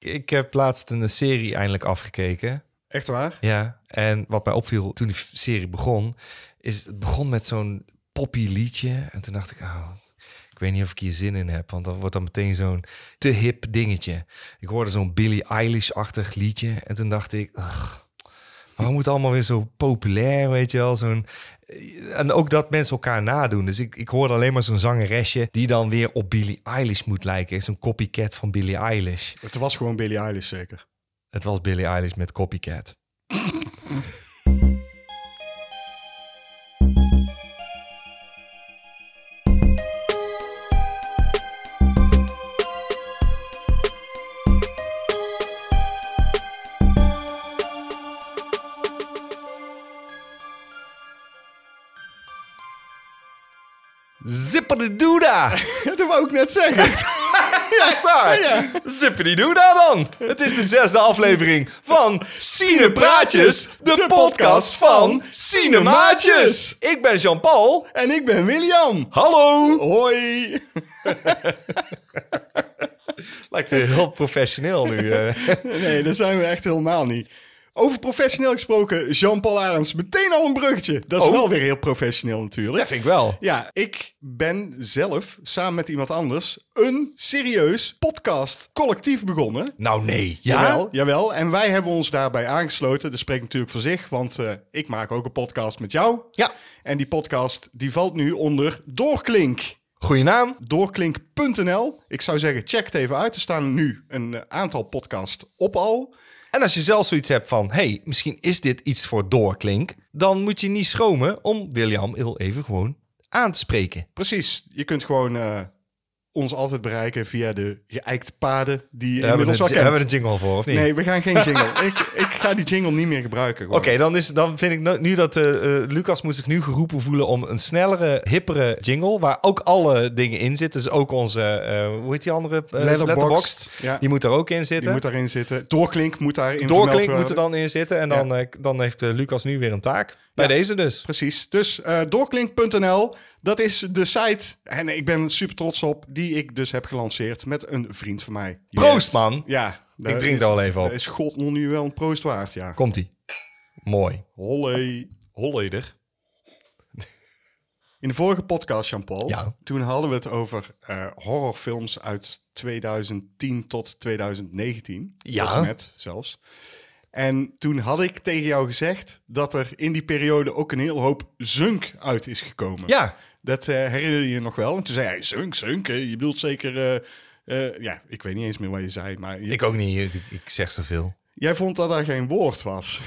Ik heb laatst een serie eindelijk afgekeken. Echt waar? Ja. En wat mij opviel toen die f- serie begon, is het begon met zo'n poppy liedje. En toen dacht ik, oh, ik weet niet of ik hier zin in heb, want dat wordt dan meteen zo'n te hip dingetje. Ik hoorde zo'n Billie Eilish-achtig liedje. En toen dacht ik, ugh, waarom moet het allemaal weer zo populair, weet je wel? Zo'n en ook dat mensen elkaar nadoen. Dus ik, ik hoorde alleen maar zo'n zangeresje die dan weer op Billie Eilish moet lijken. Zo'n copycat van Billie Eilish. Het was gewoon Billie Eilish zeker. Het was Billie Eilish met Copycat. Zipperdedoeda! dat wou ik net zeggen. Echt daar! Zipperdedoeda dan! Het is de zesde aflevering van Cinepraatjes, de podcast van Cinemaatjes! Ik ben Jean-Paul. en ik ben William. Hallo! Hoi. Lijkt heel professioneel nu. eh. Nee, dat zijn we echt helemaal niet. Over professioneel gesproken, Jean-Paul Arends, meteen al een bruggetje. Dat is Oh. wel weer heel professioneel natuurlijk. Dat vind ik wel. Ja, ik ben zelf samen met iemand anders een serieus podcast collectief begonnen. Nou nee. Jawel, jawel. En wij hebben ons daarbij aangesloten. Dat spreekt natuurlijk voor zich, want eh, ik maak ook een podcast met jou. Ja. En die podcast die valt nu onder Doorklink. Goeie naam. Doorklink.nl. Ik zou zeggen, check het even uit. Er staan nu een eh, aantal podcasts op al. En als je zelf zoiets hebt van, hey, misschien is dit iets voor doorklink, dan moet je niet schromen om William heel even gewoon aan te spreken. Precies. Je kunt gewoon eh, ons altijd bereiken via de geëikte paden die je We hebben, inmiddels wel een, hebben we een kent. jingle voor, of niet? Nee, we gaan geen jingle. ik, ik ga die jingle niet meer gebruiken. gewoon. Oké, dan, is, dan vind ik nu- nu dat eh, eh, Lucas moet zich nu geroepen voelen om een snellere, hippere jingle, waar ook alle dingen in zitten. Dus ook onze, eh, hoe heet die andere? eh, Letterboxd. Ja. Die moet er ook in Die zitten. moet daarin zitten. Doorklink moet daarin vermeld Doorklink worden. moet er dan in zitten. En dan, eh, dan heeft eh, Lucas nu weer een taak. Bij deze dus. Precies. Dus eh, doorklink.nl, dat is de site. En ik ben super trots op, die ik dus heb gelanceerd met een vriend van mij. Yes. Proost, man. Ja. Ik drink er al even op. Is God nu wel een proost waard, ja. Komt-ie. Mooi. Holle. Holleder. In de vorige podcast, Jean-Paul, Ja. toen hadden we het over eh, horrorfilms uit 2010 tot 2019. Ja. Tot en met zelfs. En toen had ik tegen jou gezegd dat er in die periode ook een heel hoop zunk uit is gekomen. Ja, Dat eh, herinner je je nog wel. En toen zei hij, zunk, zunk. hè? Je bedoelt zeker... eh, eh, ja, ik weet niet eens meer wat je zei, maar... je- ik ook niet. Ik, ik zeg zoveel. Jij vond dat daar geen woord was.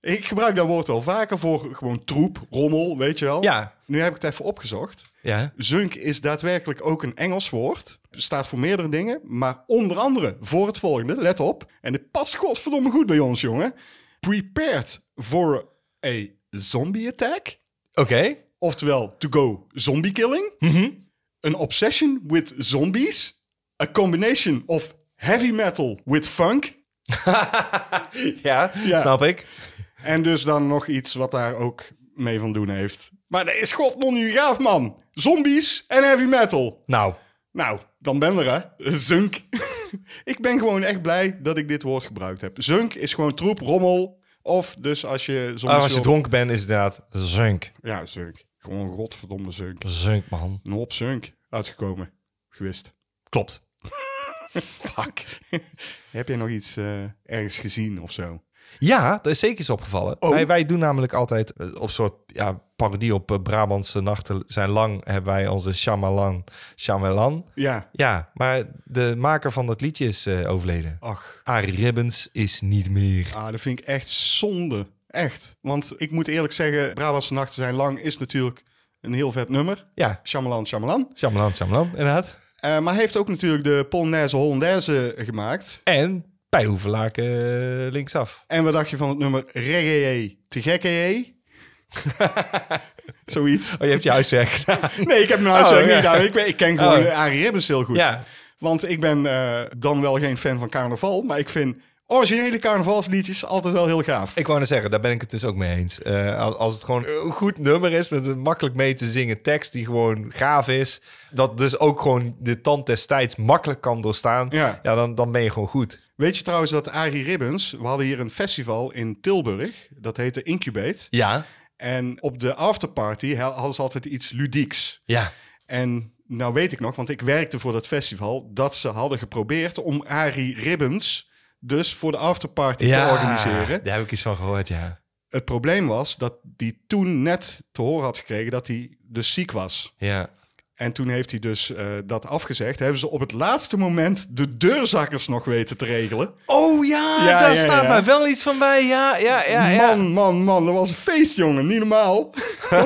Ik gebruik dat woord wel vaker voor gewoon troep, rommel, weet je wel. Ja. Nu heb ik het even opgezocht. Ja. Zunk is daadwerkelijk ook een Engels woord. Staat voor meerdere dingen, maar onder andere voor het volgende. Let op. En dit past godverdomme goed bij ons, jongen. Prepared for a zombie attack. Oké. Oftewel, to go zombie killing. An obsession with zombies. A combination of heavy metal with funk. ja, Ja. snap ik. En dus dan nog iets wat daar ook mee van doen heeft. Maar dat is god non nu gaaf, man. Zombies en heavy metal. Nou, Nou, dan ben er, hè. Zunk. ik ben gewoon echt blij dat ik dit woord gebruikt heb. Zunk is gewoon troep, rommel. Of dus als je zombies Ah, als je wil- dronken bent is het inderdaad zunk. Ja, zunk. Gewoon godverdomme zunk. Zunk, man. Een hop zunk uitgekomen. Gewist. Klopt. Fuck. Heb jij nog iets eh, ergens gezien of zo? Ja, dat is zeker eens opgevallen. Oh. Wij, wij doen namelijk altijd eh, op soort ja, parodie op eh, Brabantse nachten zijn lang. Hebben wij onze Shamalan. Shamalan. Ja. Ja, maar de maker van dat liedje is eh, overleden. Ach, Arie Ribbons is niet meer. ah, dat vind ik echt zonde. Echt. Want ik moet eerlijk zeggen, Brabantse Nachten zijn lang is natuurlijk een heel vet nummer. Ja, Shyamalan, Shyamalan. Shamalan, Shamalan, inderdaad. Eh, maar hij heeft ook natuurlijk de Polonaise Hollandaise gemaakt. En Pijhoeverlaken eh, linksaf. En wat dacht je van het nummer Reggae te gekke? Zoiets. Oh, je hebt je huiswerk gedaan. Nee, ik heb mijn huiswerk Oh, niet ja. gedaan. Ik, ben- ik ken gewoon Oh. Arie Ribbons heel goed. Ja. Want ik ben eh, dan wel geen fan van carnaval, maar ik vind originele carnavalsliedjes, altijd wel heel gaaf. Ik wou net zeggen, daar ben ik het dus ook mee eens. Eh, als- als het gewoon een goed nummer is met een makkelijk mee te zingen tekst die gewoon gaaf is, dat dus ook gewoon de tand des tijds makkelijk kan doorstaan, Ja. dan, dan ben je gewoon goed. Weet je trouwens dat Arie Ribbons, we hadden hier een festival in Tilburg, dat heette Incubate. Ja, En op de afterparty he- hadden ze altijd iets ludieks. ja. En nou weet ik nog, want ik werkte voor dat festival, dat ze hadden geprobeerd om Arie Ribbons dus voor de afterparty ja. te organiseren. Daar heb ik iets van gehoord, ja. Het probleem was dat hij toen net te horen had gekregen dat hij dus ziek was. Ja, En toen heeft hij dus eh, dat afgezegd. Hebben ze op het laatste moment de deurzakkers nog weten te regelen. Oh ja, Ja, daar ja, staat ja. maar wel iets van bij. Ja, ja, ja. ja. Man, man, man, dat was een feest, jongen. Niet normaal.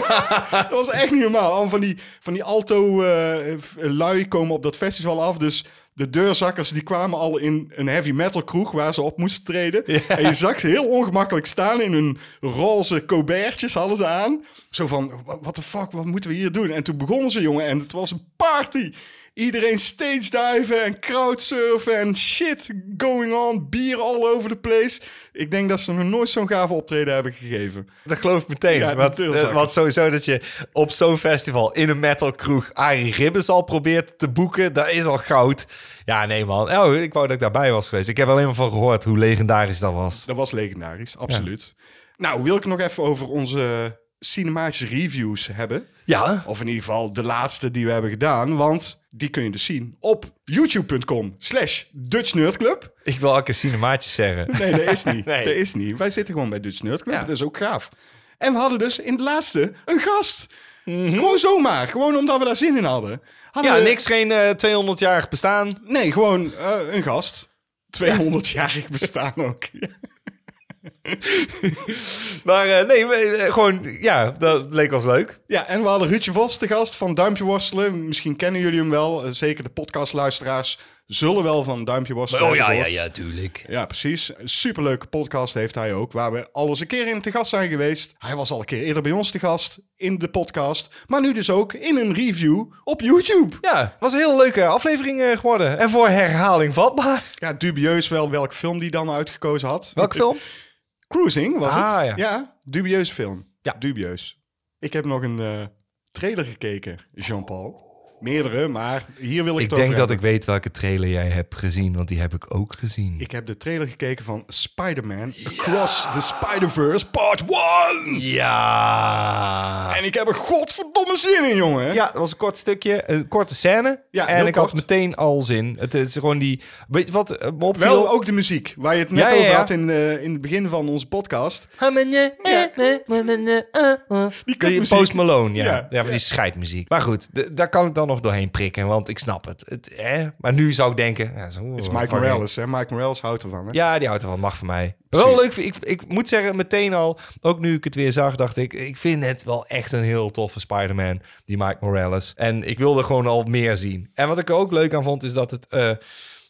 dat was echt niet normaal. Allemaal van die, van die alto-lui komen op dat festival af. Dus de deurzakkers die kwamen al in een heavy metal kroeg waar ze op moesten treden. En je zag ze heel ongemakkelijk staan in hun roze colbertjes hadden ze aan. Zo van, wat de fuck, wat moeten we hier doen? En toen begonnen ze, jongen, en het was een party. Iedereen stage diven en crowdsurfen en shit going on. Bier all over the place. Ik denk dat ze nog nooit zo'n gave optreden hebben gegeven. Dat geloof ik meteen. Ja, want, natuurlijk. eh, want sowieso dat je op zo'n festival in een metal kroeg Arie Ribbens al probeert te boeken, dat is al goud. Ja, nee man. Oh, ik wou dat ik daarbij was geweest. Ik heb alleen maar van gehoord hoe legendarisch dat was. Dat was legendarisch, absoluut. Nou, wil ik nog even over onze cinematische reviews hebben. Ja. Of in ieder geval de laatste die we hebben gedaan. Want die kun je dus zien op youtube.com slash Dutch Nerd Club. Ik wil ook een cinemaatje zeggen. Nee, dat is niet. Nee. Dat is niet. Wij zitten gewoon bij Dutch Nerd Club. Ja. Dat is ook gaaf. En we hadden dus in de laatste een gast. Gewoon zomaar. Gewoon omdat we daar zin in hadden. Hadden Mhm. Ja, we- niks, geen eh, 200-jarig bestaan. Nee, gewoon eh, een gast. 200-jarig bestaan ook. Maar eh, nee, we- eh, gewoon, ja, dat leek ons leuk. Ja, en we hadden Ruudje Vos te gast van Duimpje Worstelen. Misschien kennen jullie hem wel. Eh, Zeker de podcastluisteraars zullen wel van Duimpje Oh, Worstelen hebben gehoord. tuurlijk. Ja, precies. Een superleuke podcast heeft hij ook, waar we al eens een keer in te gast zijn geweest. Hij was al een keer eerder bij ons te gast in de podcast, maar nu dus ook in een review op YouTube. Ja, was een hele leuke aflevering eh, geworden. En voor herhaling vatbaar. Ja, dubieus wel welk film die dan uitgekozen had. Welke film? Cruising was Ah, ja. het. Ja, dubieus film. Ja. Dubieus. Ik heb nog een eh, trailer gekeken, Jean-Paul. Meerdere, maar hier wil ik, Ik het denk over dat ik hebben. weet welke trailer jij hebt gezien, want die heb ik ook gezien. Ik heb de trailer gekeken van Spider-Man Across the Spider-Verse Part 1. Ja. En ik heb er godverdomme zin in, jongen. Ja, dat was een kort stukje, een korte scène. Ja, en heel ik had kort. meteen al zin. Het is gewoon die. Weet je wat? eh, me opviel? Wel ook de muziek, waar je het net Ja, ja, over ja. had in, eh, in het begin van onze podcast. Oh, eh, Die kutmuziek. Post Malone, ja. Ja, Ja, van die scheidmuziek. Maar goed, d- daar kan ik dan nog doorheen prikken, want ik snap het. het hè? Maar nu zou ik denken... Ja, zo, Het is Mike Morales, hè? Mike Morales houdt ervan, hè? Ja, die houdt ervan. Mag van mij. Maar Wel leuk. Ik, ik moet zeggen, meteen al, ook nu ik het weer zag, dacht ik... Ik vind het wel echt een heel toffe Spider-Man, die Mike Morales. En ik wilde gewoon al meer zien. En wat ik er ook leuk aan vond, is dat het... eh,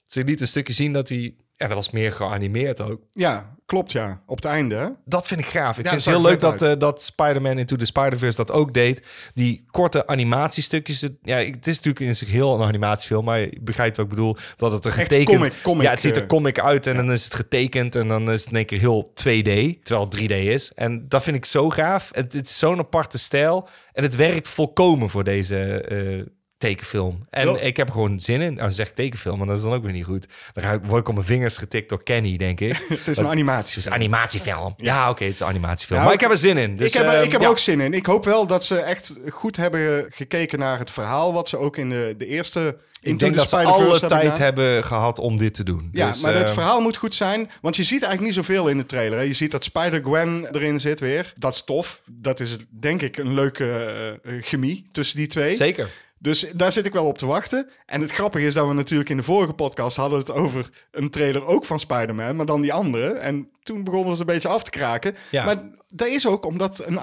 ze liet een stukje zien dat hij... En dat was meer geanimeerd ook. Ja, klopt, ja. Op het einde, hè? Dat vind ik gaaf. Ik Ja, vind het heel het zag leuk er vet dat, eh dat Spider-Man Into the Spider-Verse dat ook deed. Die korte animatiestukjes. het- Ja, ik- het is natuurlijk in zich heel een animatiefilm, maar je begrijpt wat ik bedoel. Dat het er getekend... comic, comic, ja, het ziet er eh, comic uit en dan is het getekend en dan is het in één keer heel 2D, terwijl het 3D is. En dat vind ik zo gaaf. Het, het is zo'n aparte stijl en het werkt volkomen voor deze... eh, tekenfilm. En Wel- ik heb er gewoon zin in. Nou, zeg tekenfilm, maar dat is dan ook weer niet goed. Dan ga ik, word ik op mijn vingers getikt door Kenny, denk ik. Het is een animatie. Het is een animatiefilm. Ja, oké, het is een animatiefilm. Nou, maar ik- ik heb er zin in. Dus, ik heb, er- eh, ik heb ja. er ook zin in. Ik hoop wel dat ze echt goed hebben gekeken naar het verhaal... wat ze ook in de, de eerste Ik denk dat ze alle tijd hebben gehad om dit te doen. Ja, Dus, maar het eh, verhaal moet goed zijn. Want je ziet eigenlijk niet zoveel in de trailer. Hè. Je ziet dat Spider-Gwen erin zit weer. Dat is tof. Dat is denk ik een leuke eh, eh, chemie tussen die twee. Zeker. Dus daar zit ik wel op te wachten. En het grappige is dat we natuurlijk in de vorige podcast hadden het over een trailer ook van Spider-Man, maar dan die andere. En toen begonnen ze het een beetje af te kraken. Ja. Maar dat is ook omdat een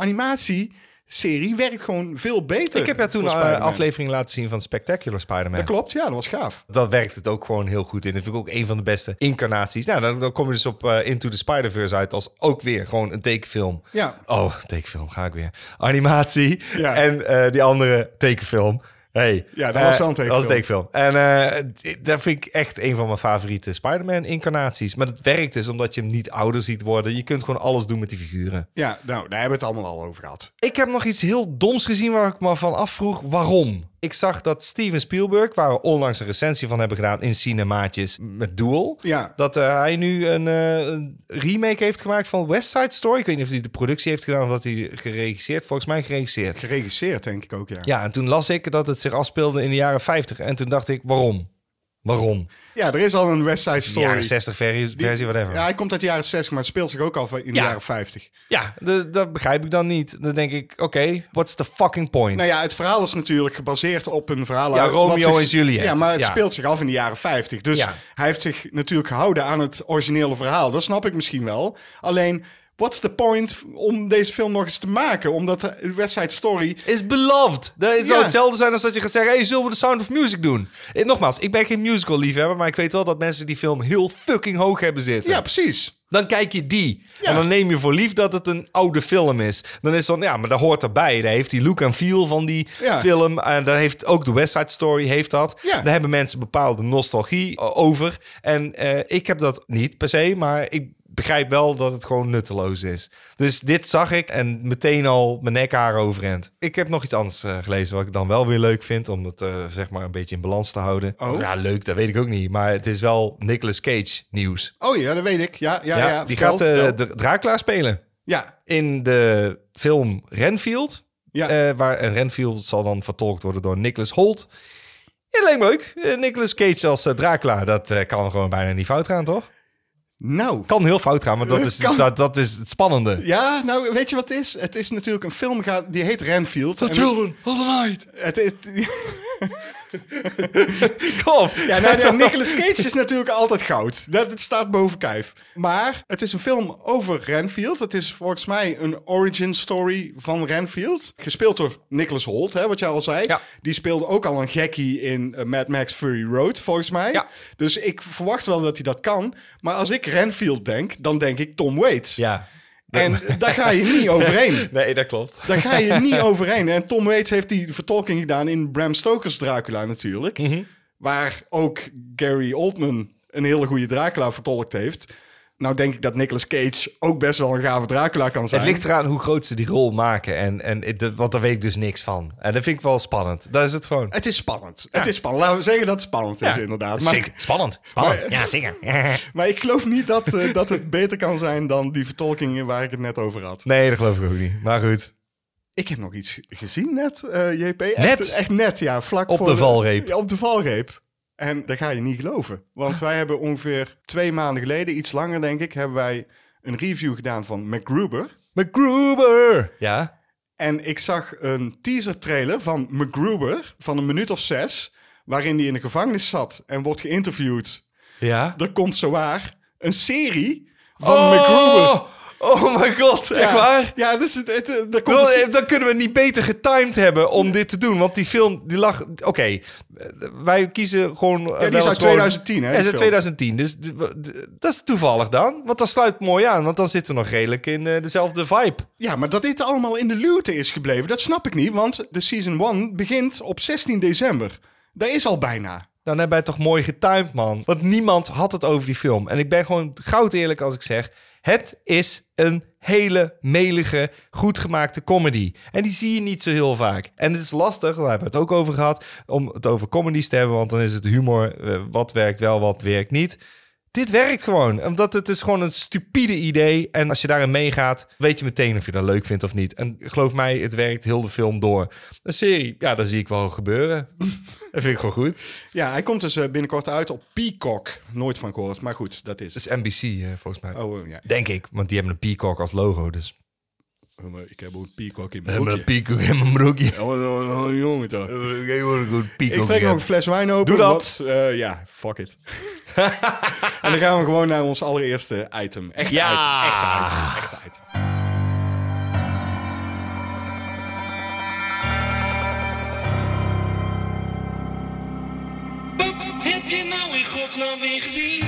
animatieserie werkt gewoon veel beter. Ik heb jou toen voor een Spider-Man. aflevering laten zien van Spectacular Spider-Man. Dat klopt, ja, dat was gaaf. Dat werkt het ook gewoon heel goed in. Dat vind ik ook een van de beste incarnaties. Nou, dan, dan kom je dus op eh, Into the Spider-Verse uit als ook weer gewoon een tekenfilm. Ja. Oh, tekenfilm, ga ik weer. Animatie. Ja. En eh, die andere tekenfilm. Hey, Ja, dat was eh, wel een Dat was tekenfilm. een tekenfilm. En eh, d- dat vind ik echt een van mijn favoriete Spider-Man-incarnaties. Maar het werkt dus omdat je hem niet ouder ziet worden. Je kunt gewoon alles doen met die figuren. Ja, nou, daar hebben we het allemaal al over gehad. Ik heb nog iets heel doms gezien waar ik me van afvroeg waarom. Ik zag dat Steven Spielberg, waar we onlangs een recensie van hebben gedaan in Cinemaatjes met Duel. Ja, Dat eh, hij nu een, eh, een remake heeft gemaakt van West Side Story. Ik weet niet of hij de productie heeft gedaan of dat hij geregisseerd. Volgens mij geregisseerd. geregisseerd denk ik ook, ja. ja. Ja, en toen las ik dat het zich afspeelde in de jaren 50. En toen dacht ik, waarom? Waarom? er is al een West Side De Story. jaren 60 versie, Die- versie whatever. Ja, Ja, hij komt uit de jaren 60, maar het speelt zich ook al in de Ja. jaren 50. de- dat begrijp ik dan niet. Dan denk ik, oké, what's the fucking point? Nou ja, het verhaal is natuurlijk gebaseerd op een verhaal... Ja, uit- Romeo wat zich- en Juliet. Ja, maar het Ja. speelt zich af in de jaren 50. Dus Ja. hij heeft zich natuurlijk gehouden aan het originele verhaal. Dat snap ik misschien wel. Alleen, what's the point om deze film nog eens te maken? Omdat de West Side Story... Is beloved. Dat het zou Ja. hetzelfde zijn als dat je gaat zeggen, hey, zullen we de Sound of Music doen? Eh, Nogmaals, ik ben geen musical liefhebber, maar ik weet wel dat mensen die film heel fucking hoog hebben zitten. Ja, precies. Dan kijk je die. Ja. En dan neem je voor lief dat het een oude film is. Dan is dan, ja, maar daar hoort erbij. Daar heeft die look en feel van die Ja. film. En daar heeft ook de West Side Story heeft dat. Ja. Daar hebben mensen bepaalde nostalgie o- over. En eh, ik heb dat niet per se, maar ik begrijp wel dat het gewoon nutteloos is. Dus dit zag ik en meteen al mijn nekhaar overeind. Ik heb nog iets anders eh, gelezen wat ik dan wel weer leuk vind... om het eh, zeg maar een beetje in balans te houden. Oh. Ja, leuk, dat weet ik ook niet. Maar het is wel Nicolas Cage nieuws. Oh ja, dat weet ik. Ja, ja, ja. Ja, die vertel, gaat eh, vertel. de Dracula spelen Ja, in de film Renfield. ja. eh, waar en Renfield zal dan vertolkt worden door Nicholas Holt. Ja, lijkt me leuk. Eh, Nicolas Cage als eh, Dracula, dat eh, kan gewoon bijna niet fout gaan, toch? nou... Kan heel fout gaan, maar dat is, Kan. dat, dat is het spannende. Ja, nou, weet je wat het is? Het is natuurlijk een film ga- die heet Renfield. En of the night. Het, het, Kom op. Ja, nou, ja, Nicolas Cage is natuurlijk altijd goud. Dat het staat boven kijf. Maar het is een film over Renfield. Het is volgens mij een origin story van Renfield. Gespeeld door Nicholas Holt, hè, wat jij al zei. Ja. Die speelde ook al een gekkie in eh, Mad Max Fury Road, volgens mij. Ja. Dus ik verwacht wel dat hij dat kan. Maar als ik Renfield denk, dan denk ik Tom Waits. Ja. En daar ga je niet overheen. Nee, dat klopt. Daar ga je niet overheen. En Tom Waits heeft die vertolking gedaan in Bram Stoker's Dracula natuurlijk. Mhm. Waar ook Gary Oldman een hele goede Dracula vertolkt heeft. Nou denk ik dat Nicolas Cage ook best wel een gave Dracula kan zijn. Het ligt eraan hoe groot ze die rol maken. En, en, het- want daar weet ik dus niks van. En dat vind ik wel spannend. Dat is het gewoon. Het is spannend. Het is spannend. Laten we zeggen dat het spannend is inderdaad. Maar, Zeker. Spannend. Spannend. Maar- ja, zeker. maar ik geloof niet dat, eh, dat het beter kan zijn dan die vertolkingen waar ik het net over had. nee, dat geloof ik ook niet. Maar goed. Ik heb nog iets gezien net, eh, JP. Echt, Net? Echt net, ja. Vlak Op voor de valreep. ja, op de valreep. En dat ga je niet geloven. Want wij hebben ongeveer twee maanden geleden, iets langer denk ik, hebben wij een review gedaan van MacGruber. MacGruber. Ja. En ik zag een teaser trailer van MacGruber van een minuut of zes, waarin hij in de gevangenis zat en wordt geïnterviewd. Ja. Er komt zowaar een serie van Oh! MacGruber. MacGruber. Oh my god, echt Ja, waar? Ja, dus het, het, eh, er komt Dan, een se- dan kunnen we het niet beter getimed hebben om dit te doen. Want die film, die lag... Oké, eh, wij kiezen gewoon... eh, wel die is eens uit gewoon- 2010, hè, Ja, is uit die film. 2010. Dus d- w- d- dat is toevallig dan. Want dat sluit mooi aan. Want dan zitten we nog redelijk in eh, dezelfde vibe. Ja, maar dat dit allemaal in de luwte is gebleven, dat snap ik niet. Want de season 1 begint op 16 december. Dat is al bijna. Dan hebben wij het toch mooi getimed, man. Want niemand had het over die film. En ik ben gewoon goud eerlijk als ik zeg... het is een hele melige, goed gemaakte comedy. En die zie je niet zo heel vaak. En het is lastig, daar hebben we het ook over gehad... om het over comedies te hebben, want dan is het humor... eh, wat werkt wel, wat werkt niet. Dit werkt gewoon, omdat het is gewoon een stupide idee. En als je daarin meegaat, weet je meteen of je dat leuk vindt of niet. En geloof mij, het werkt heel de film door. Een serie, ja, dat zie ik wel gebeuren. dat vind ik gewoon goed. Ja, hij komt dus eh, binnenkort uit op Peacock. Nooit van gehoord, maar goed, dat is het. Dat is NBC, eh, volgens mij. Oh, eh, ja. Denk ik, want die hebben een peacock als logo. Dus Oh, maar Ik heb ook een Peacock in mijn broekje. Eh, peacock in mijn broekje. Oh, oh, oh, jongen toch. Ik peacock trek nog een fles wijn open. Doe dat. want, eh, ja, fuck it. en dan gaan we gewoon naar ons allereerste item. Echt Ja. item, echt item, echt item. Wat heb je nou in godsnaam weer gezien?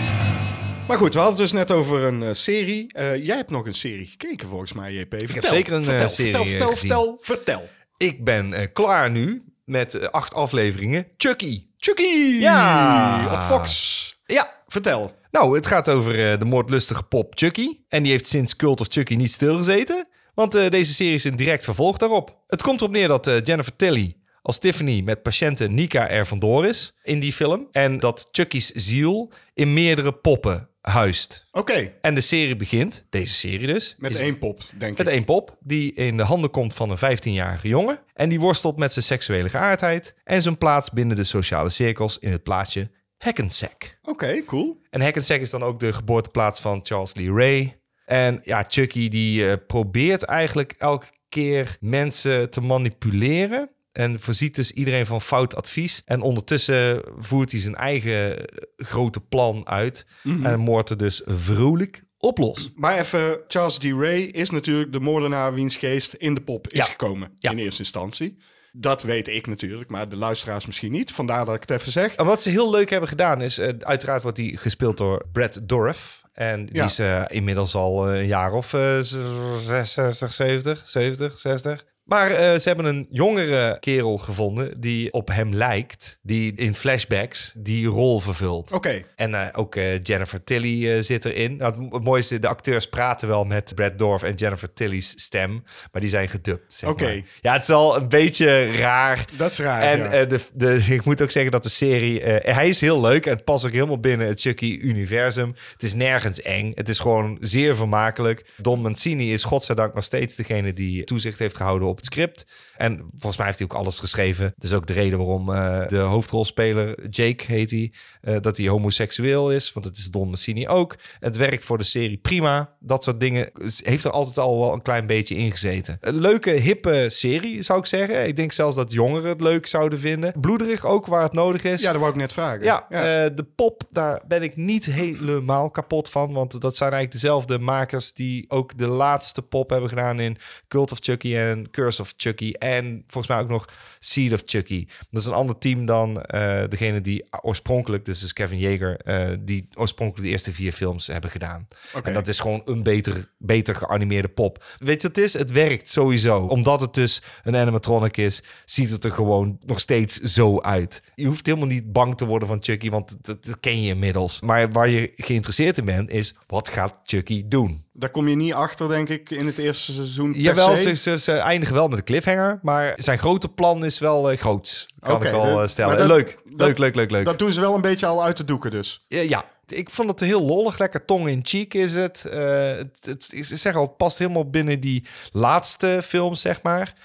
Maar goed, we hadden het dus net over een eh, serie. Eh, jij hebt nog een serie gekeken volgens mij, JP. Vertel, zeker een, eh, vertel, serie, Vertel, eh, vertel, gezien. vertel, vertel. Ik ben eh, klaar nu met eh, acht afleveringen. Chucky. Chucky! Ja. Op Fox. Ja. Vertel. Nou, het gaat over eh, de moordlustige pop Chucky. En die heeft sinds Cult of Chucky niet stilgezeten. Want eh, deze serie is een direct vervolg daarop. Het komt erop neer dat eh, Jennifer Tilly als Tiffany met patiënte Nika er vandoor is in die film. En dat Chucky's ziel in meerdere poppen huist. Oké, En de serie begint, deze serie dus. met is- één pop, denk met ik. één pop die in de handen komt van een 15-jarige jongen. En die worstelt met zijn seksuele geaardheid en zijn plaats binnen de sociale cirkels in het plaatsje Hackensack. Oké, cool. En Hackensack is dan ook de geboorteplaats van Charles Lee Ray. En ja, Chucky die eh, probeert eigenlijk elke keer mensen te manipuleren. En voorziet dus iedereen van fout advies. En ondertussen voert hij zijn eigen eh, grote plan uit. Mhm. En moordt er dus vrolijk op los. Maar even, Charles D. Ray is natuurlijk de moordenaar wiens geest in de pop is Ja. gekomen. Ja. In eerste instantie. Dat weet ik natuurlijk, maar de luisteraars misschien niet. Vandaar dat ik het even zeg. En wat ze heel leuk hebben gedaan is, eh, uiteraard wordt die gespeeld door Brad Dorff. En die Ja. is eh, inmiddels al eh, een jaar of eh, z- 60, 70, 70, 60. Maar eh, ze hebben een jongere kerel gevonden die op hem lijkt. Die in flashbacks die rol vervult. Oké, En eh, ook eh, Jennifer Tilly eh, zit erin. Nou, het mo- het mooiste, de acteurs praten wel met Brad Dorff en Jennifer Tilly's stem. Maar die zijn gedubt, zeg Oké. maar. Ja, het is al een beetje raar. dat is raar. En ja. eh, de, de, ik moet ook zeggen dat de serie... eh, hij is heel leuk en het past ook helemaal binnen het Chucky-universum. Het is nergens eng. Het is gewoon zeer vermakelijk. Don Mancini is godzijdank nog steeds degene die toezicht heeft gehouden op het script. En volgens mij heeft hij ook alles geschreven. Dat is ook de reden waarom eh, de hoofdrolspeler, Jake heet hij... eh, dat hij homoseksueel is, want het is Don Mancini ook. Het werkt voor de serie prima. Dat soort dingen is- heeft er altijd al wel een klein beetje in gezeten. Een leuke, hippe serie, zou ik zeggen. Ik denk zelfs dat jongeren het leuk zouden vinden. Bloederig ook, waar het nodig is. ja, dat wou ik net vragen. Ja, eh, de pop, daar ben ik niet helemaal kapot van. Want dat zijn eigenlijk dezelfde makers die ook de laatste pop hebben gedaan in Cult of Chucky en Curse of Chucky. En volgens mij ook nog Seed of Chucky. Dat is een ander team dan eh, degene die oorspronkelijk, dus, is Kevin Jaeger, eh, die oorspronkelijk de eerste vier films hebben gedaan. Oké. En dat is gewoon een beter, beter geanimeerde pop. Weet je wat het is? Het werkt sowieso. Omdat het dus een animatronic is, ziet het er gewoon nog steeds zo uit. Je hoeft helemaal niet bang te worden van Chucky, want dat, dat ken je inmiddels. Maar waar je geïnteresseerd in bent, is wat gaat Chucky doen? Daar kom je niet achter, denk ik, in het eerste seizoen. per Jawel, se. ze, ze, ze eindigen wel met een cliffhanger, maar zijn grote plan is wel eh, groot. Kan Oké, ik wel dat- eh, stellen. maar dat- leuk, dat- leuk, leuk, leuk, leuk. Dat doen ze wel een beetje al uit de doeken dus. Ja, Eh, ja, ik vond het heel lollig. Lekker tong in cheek is het. Eh, het, het ik zeg al, het past helemaal binnen die laatste film, zeg maar.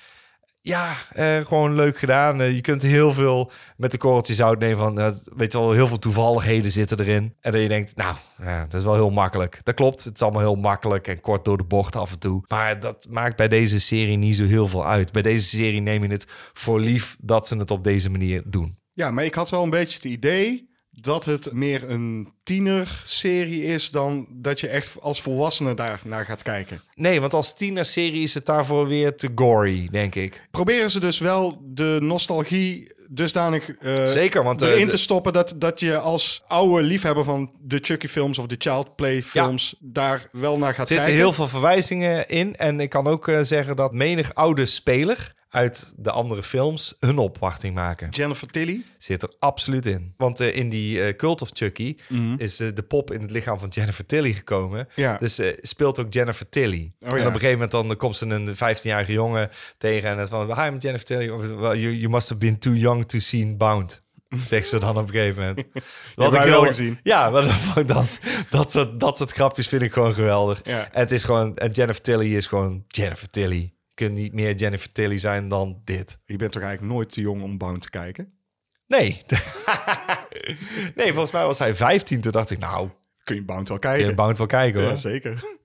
Ja, eh, gewoon leuk gedaan. Eh, je kunt heel veel met de korreltjes zout nemen van, eh, weet je wel, heel veel toevalligheden zitten erin. En dat je denkt, nou, ja, dat is wel heel makkelijk. Dat klopt, het is allemaal heel makkelijk en kort door de bocht af en toe. Maar dat maakt bij deze serie niet zo heel veel uit. Bij deze serie neem je het voor lief dat ze het op deze manier doen. Ja, maar ik had wel een beetje het idee dat het meer een tienerserie is dan dat je echt als volwassene daar naar gaat kijken. Nee, want als tienerserie is het daarvoor weer te gory, denk ik. Proberen ze dus wel de nostalgie dusdanig eh, Zeker, want, eh, erin de- te stoppen dat, dat je als oude liefhebber van de Chucky films of de Child Play films daar wel naar gaat Er zitten kijken. heel veel verwijzingen in. En ik kan ook eh, zeggen dat menig oude speler uit de andere films hun opwachting maken. Jennifer Tilly. Zit er absoluut in. Want eh, in die eh, Cult of Chucky is eh, de pop in het lichaam van Jennifer Tilly gekomen. Mhm. Ja. Dus eh, speelt ook Jennifer Tilly. Oh, en ja. op een gegeven moment dan eh, komt ze een 15-jarige jongen tegen en het van... Hi, I'm Jennifer Tilly. Of, well, you, you must have been too young to see Bound. Zegt ze dan op een gegeven moment. Dat had wij ik wel heel- gezien. Ja, maar dat, dat, dat, soort, dat soort grapjes vind ik gewoon geweldig. Ja. En het is gewoon... En Jennifer Tilly is gewoon Jennifer Tilly. Je kunt niet meer Jennifer Tilly zijn dan dit. Je bent toch eigenlijk nooit te jong om Bound te kijken? Nee. nee, volgens mij was hij 15. Toen dacht ik, nou, Kun je Bound wel kun kijken? je Bound wel kijken hoor. ja, zeker.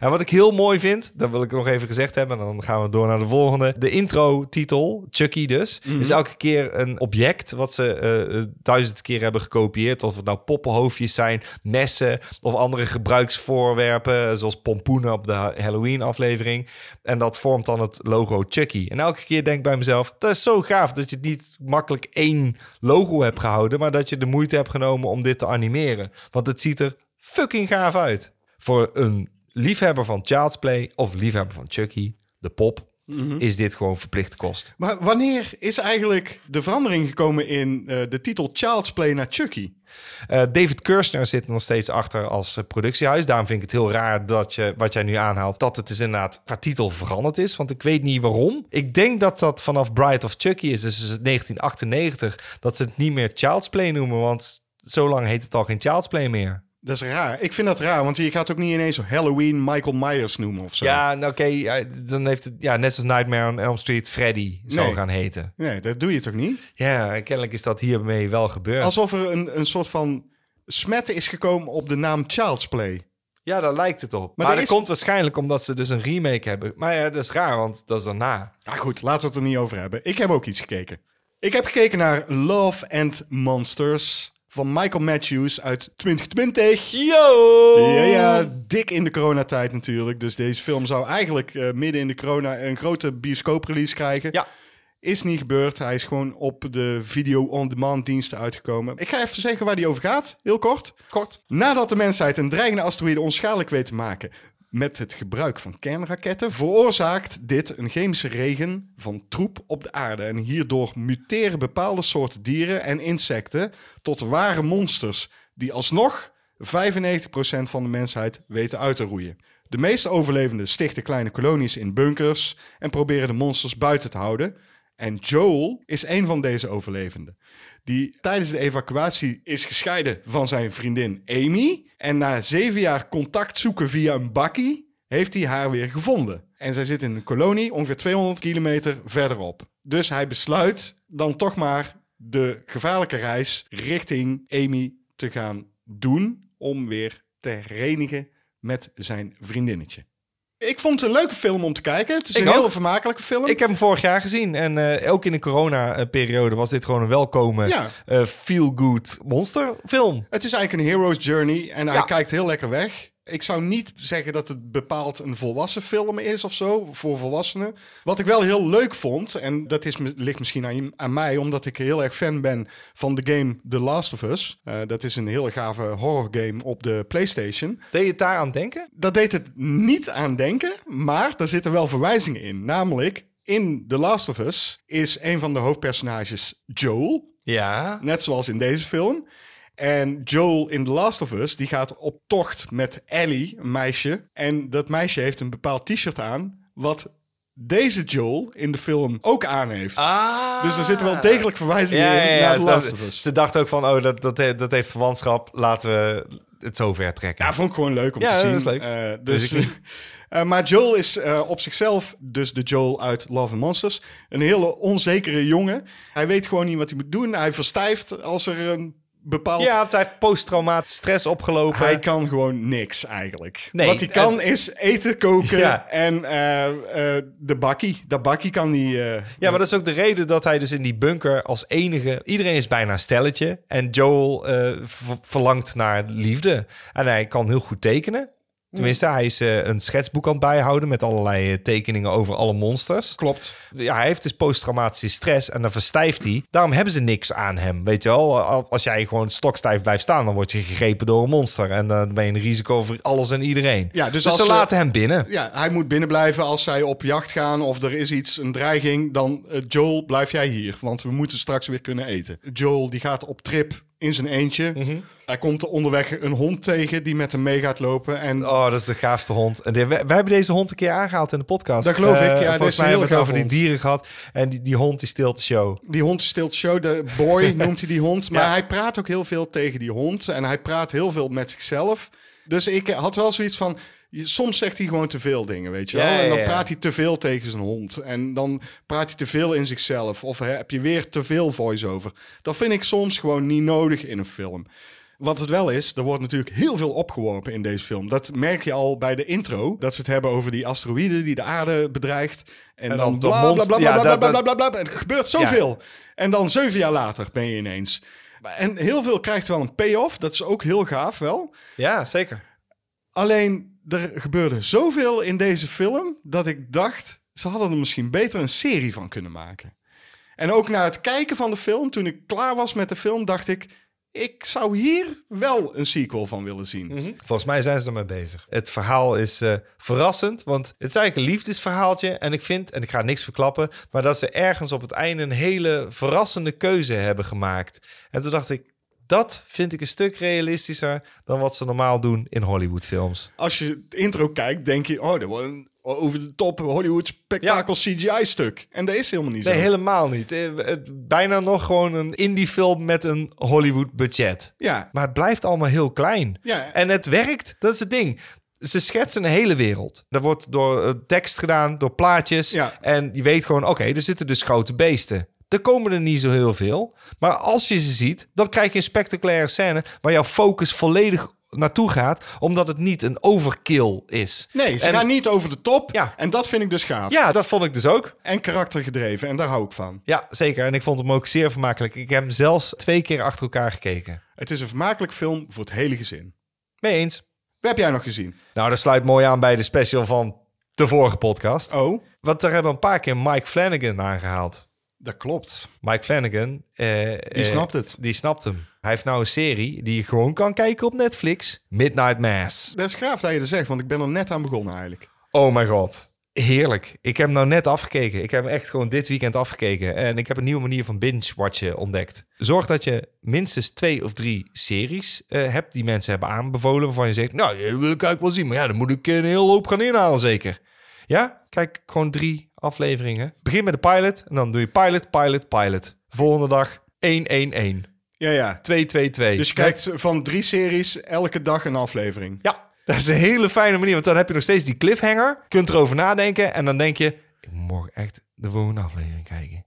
En wat ik heel mooi vind, dat wil ik nog even gezegd hebben. En dan gaan we door naar de volgende. De intro-titel, Chucky dus, is elke keer een object wat ze eh, eh, duizend keer hebben gekopieerd. Of het nou poppenhoofdjes zijn, messen of andere gebruiksvoorwerpen. eh, Zoals pompoenen op de Halloween-aflevering. En dat vormt dan het logo Chucky. En elke keer denk ik bij mezelf, dat is zo gaaf dat je het niet makkelijk één logo hebt gehouden. Maar dat je de moeite hebt genomen om dit te animeren. Want het ziet er fucking gaaf uit voor een liefhebber van Child's Play of liefhebber van Chucky, de pop, is dit gewoon verplichte kost. Maar wanneer is eigenlijk de verandering gekomen in eh, de titel Child's Play naar Chucky? Eh, David Kirshner zit er nog steeds achter als eh, productiehuis. Daarom vind ik het heel raar dat je, wat jij nu aanhaalt, dat het dus inderdaad qua titel veranderd is. Want ik weet niet waarom. Ik denk dat dat vanaf Bride of Chucky is, dus is het 1998, dat ze het niet meer Child's Play noemen. Want zo lang heet het al geen Child's Play meer. Dat is raar. Ik vind dat raar, want je gaat ook niet ineens Halloween Michael Myers noemen of zo. Ja, nou, oké, ja, dan heeft het, ja, net als Nightmare on Elm Street, Freddy zou Nee. gaan heten. Nee, dat doe je toch niet? Ja, kennelijk is dat hiermee wel gebeurd. Alsof er een, een soort van smetten is gekomen op de naam Child's Play. Ja, daar lijkt het op. Maar, er dat is- komt waarschijnlijk omdat ze dus een remake hebben. Maar ja, dat is raar, want dat is daarna. Ah goed, laten we het er niet over hebben. Ik heb ook iets gekeken. Ik heb gekeken naar Love and Monsters van Michael Matthews uit 2020. Yo! Ja, ja, dik in de coronatijd natuurlijk. Dus deze film zou eigenlijk eh, midden in de corona een grote bioscooprelease krijgen. Ja. Is niet gebeurd. Hij is gewoon op de video-on-demand diensten uitgekomen. Ik ga even zeggen waar die over gaat, heel kort. Kort. Nadat de mensheid een dreigende asteroïde onschadelijk weet te maken met het gebruik van kernraketten, veroorzaakt dit een chemische regen van troep op de aarde. En hierdoor muteren bepaalde soorten dieren en insecten tot ware monsters, die alsnog 95% van de mensheid weten uit te roeien. De meeste overlevenden stichten kleine kolonies in bunkers en proberen de monsters buiten te houden. En Joel is een van deze overlevenden. Die tijdens de evacuatie is gescheiden van zijn vriendin Amy. En na zeven jaar contact zoeken via een bakkie, heeft hij haar weer gevonden. En zij zit in een kolonie ongeveer 200 kilometer verderop. Dus hij besluit dan toch maar de gevaarlijke reis richting Amy te gaan doen. Om weer te herenigen met zijn vriendinnetje. Ik vond het een leuke film om te kijken. Het is Ik een ook. heel vermakelijke film. Ik heb hem vorig jaar gezien. En eh, ook in de corona-periode was dit gewoon een welkome, Ja. eh, feel-good monsterfilm. Het is eigenlijk een hero's journey en hij Ja. kijkt heel lekker weg. Ik zou niet zeggen dat het bepaald een volwassen film is of zo, voor volwassenen. Wat ik wel heel leuk vond, en dat is, ligt misschien aan, aan mij... omdat ik heel erg fan ben van de game The Last of Us. Eh, dat is een hele gave horrorgame op de PlayStation. Deed je het daar aan denken? Dat deed het niet aan denken, maar daar zitten wel verwijzingen in. Namelijk, in The Last of Us is een van de hoofdpersonages Joel... Ja. Net zoals in deze film. En Joel in The Last of Us, die gaat op tocht met Ellie, een meisje. En dat meisje heeft een bepaald t-shirt aan, wat deze Joel in de film ook aan heeft. Ah. Dus er zitten wel degelijk verwijzingen Ja, ja, in ja, naar The dat- Last of Us. ze dachten ook van, oh, dat, dat, he- dat heeft verwantschap. Laten we het zo ver trekken. Ja, vond ik gewoon leuk om Ja, te dat zien. is leuk. Eh, dus, Weet ik niet. eh, maar Joel is eh, op zichzelf, dus de Joel uit Love and Monsters, een hele onzekere jongen. Hij weet gewoon niet wat hij moet doen. Hij verstijft als er een bepaald ja want hij heeft posttraumatisch stress opgelopen. Hij kan gewoon niks eigenlijk. Nee, Wat hij kan is eten koken Ja. en eh, eh, de bakkie. Dat bakkie kan hij... eh, Ja, maar dat is ook de reden dat hij dus in die bunker als enige... Iedereen is bijna een stelletje. En Joel eh, v- verlangt naar liefde. En hij kan heel goed tekenen. Tenminste, hij is eh, een schetsboek aan het bijhouden... met allerlei eh, tekeningen over alle monsters. klopt. Ja, hij heeft dus posttraumatische stress en dan verstijft hij. Daarom hebben ze niks aan hem, weet je wel. Al- Als jij gewoon stokstijf blijft staan... dan word je gegrepen door een monster. En dan ben je een risico voor alles en iedereen. Ja, dus als ze ze- laten hem binnen. Ja, hij moet binnen blijven als zij op jacht gaan of er is iets, een dreiging. Dan, eh, Joel, blijf jij hier, want we moeten straks weer kunnen eten. Joel, die gaat op trip in zijn eentje. Mhm. Hij komt onderweg een hond tegen die met hem mee gaat lopen. En Oh, dat is de gaafste hond. En die- we, we hebben deze hond een keer aangehaald in de podcast. Dat geloof ik, ja, Eh, dit is volgens een mij heel hebben we het over gaaf die dieren gehad. En die, die hond die stilt de show. die hond stilt show, de boy noemt hij die hond. Maar Ja. hij praat ook heel veel tegen die hond en hij praat heel veel met zichzelf. Dus ik had wel zoiets van, je- soms zegt hij gewoon te veel dingen, weet je wel. Ja, ja, En dan ja. praat hij te veel tegen zijn hond en dan praat hij te veel in zichzelf. Of hè, heb je weer te veel voice-over. Dat vind ik soms gewoon niet nodig in een film. Wat het wel is, er wordt natuurlijk heel veel opgeworpen in deze film. Dat merk je al bij de intro. Dat ze het hebben over die asteroïde die de aarde bedreigt. En, dan dan dat bla bla monster- bla ja, bla bla dat- bla dat- bla bla, bla. Het gebeurt zoveel. En dan zeven jaar later ben je ineens. En heel veel krijgt wel een payoff. Dat is ook heel gaaf wel. Ja, zeker. Alleen er gebeurde zoveel in deze film dat ik dacht, ze hadden er misschien beter een serie van kunnen maken. En ook na het kijken van de film, toen ik klaar was met de film, dacht ik, Ik zou hier wel een sequel van willen zien. Hm? Volgens mij zijn ze ermee bezig. Het verhaal is eh, verrassend, want het is eigenlijk een liefdesverhaaltje. En ik vind, en ik ga niks verklappen, maar dat ze ergens op het einde een hele verrassende keuze hebben gemaakt. En toen dacht ik, dat vind ik een stuk realistischer dan wat ze normaal doen in Hollywoodfilms. Als je het intro kijkt, denk je... Oh, dat wordt een over de top Hollywood spektakel CGI-stuk. En dat is helemaal niet Nee, zo. helemaal niet. Eh, het- Bijna nog gewoon een indie-film met een Hollywood-budget. Ja, Maar het blijft allemaal heel klein. Ja. En het werkt, dat is het ding. Ze schetsen een hele wereld. Dat wordt door eh, tekst gedaan, door plaatjes. Ja. En je weet gewoon, oké, er zitten dus grote beesten. Er komen er niet zo heel veel. Maar als je ze ziet, dan krijg je een spectaculaire scène... waar jouw focus volledig naartoe gaat... omdat het niet een overkill is. nee, ze En- gaan niet over de top. Ja. En dat vind ik dus gaaf. Ja, dat vond ik dus ook. En karaktergedreven. En daar hou ik van. Ja, zeker. En ik vond hem ook zeer vermakelijk. Ik heb hem zelfs twee keer achter elkaar gekeken. Het is een vermakelijk film voor het hele gezin. Mee eens? Wat heb jij nog gezien? Nou, dat sluit mooi aan bij de special van de vorige podcast. Oh, Want daar hebben we een paar keer Mike Flanagan aangehaald. dat klopt. Mike Flanagan. eh, eh, snapt het. Die snapt hem. Hij heeft nou een serie die je gewoon kan kijken op Netflix. Midnight Mass. Dat is gaaf dat je dat zegt, want ik ben er net aan begonnen eigenlijk. Oh mijn god. Heerlijk. Ik heb hem nou net afgekeken. Ik heb hem echt gewoon dit weekend afgekeken. En ik heb een nieuwe manier van binge-watchen ontdekt. Zorg dat je minstens twee of drie series eh, hebt die mensen hebben aanbevolen. Waarvan je zegt, nou, dat wil ik eigenlijk wel zien. Maar ja, dan moet ik een heel hoop gaan inhalen zeker. Ja? Kijk, gewoon drie afleveringen. Begin met de pilot en dan doe je pilot, pilot, pilot. Volgende dag 1, 1, 1. Ja, ja. 2, 2, 2. Dus je kijkt van drie series elke dag een aflevering. Ja, dat is een hele fijne manier. Want dan heb je nog steeds die cliffhanger. Kunt erover nadenken. En dan denk je, ik moet morgen echt de volgende aflevering kijken.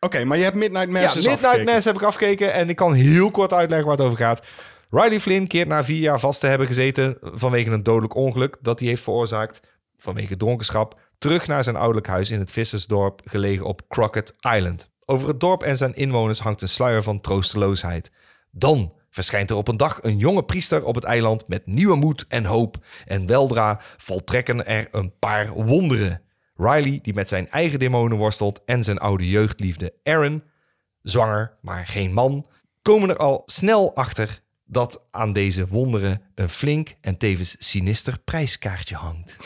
Oké, maar je hebt Midnight Mass ja, dus Midnight afgekeken. Mass heb ik afgekeken. En ik kan heel kort uitleggen waar het over gaat. Riley Flynn keert na vier jaar vast te hebben gezeten vanwege een dodelijk ongeluk dat hij heeft veroorzaakt vanwege dronkenschap terug naar zijn ouderlijk huis in het vissersdorp gelegen op Crockett Island. Over het dorp en zijn inwoners hangt een sluier van troosteloosheid. Dan verschijnt er op een dag een jonge priester op het eiland met nieuwe moed en hoop. En weldra voltrekken er een paar wonderen. Riley, die met zijn eigen demonen worstelt, en zijn oude jeugdliefde Aaron, zwanger, maar geen man, komen er al snel achter dat aan deze wonderen een flink en tevens sinister prijskaartje hangt.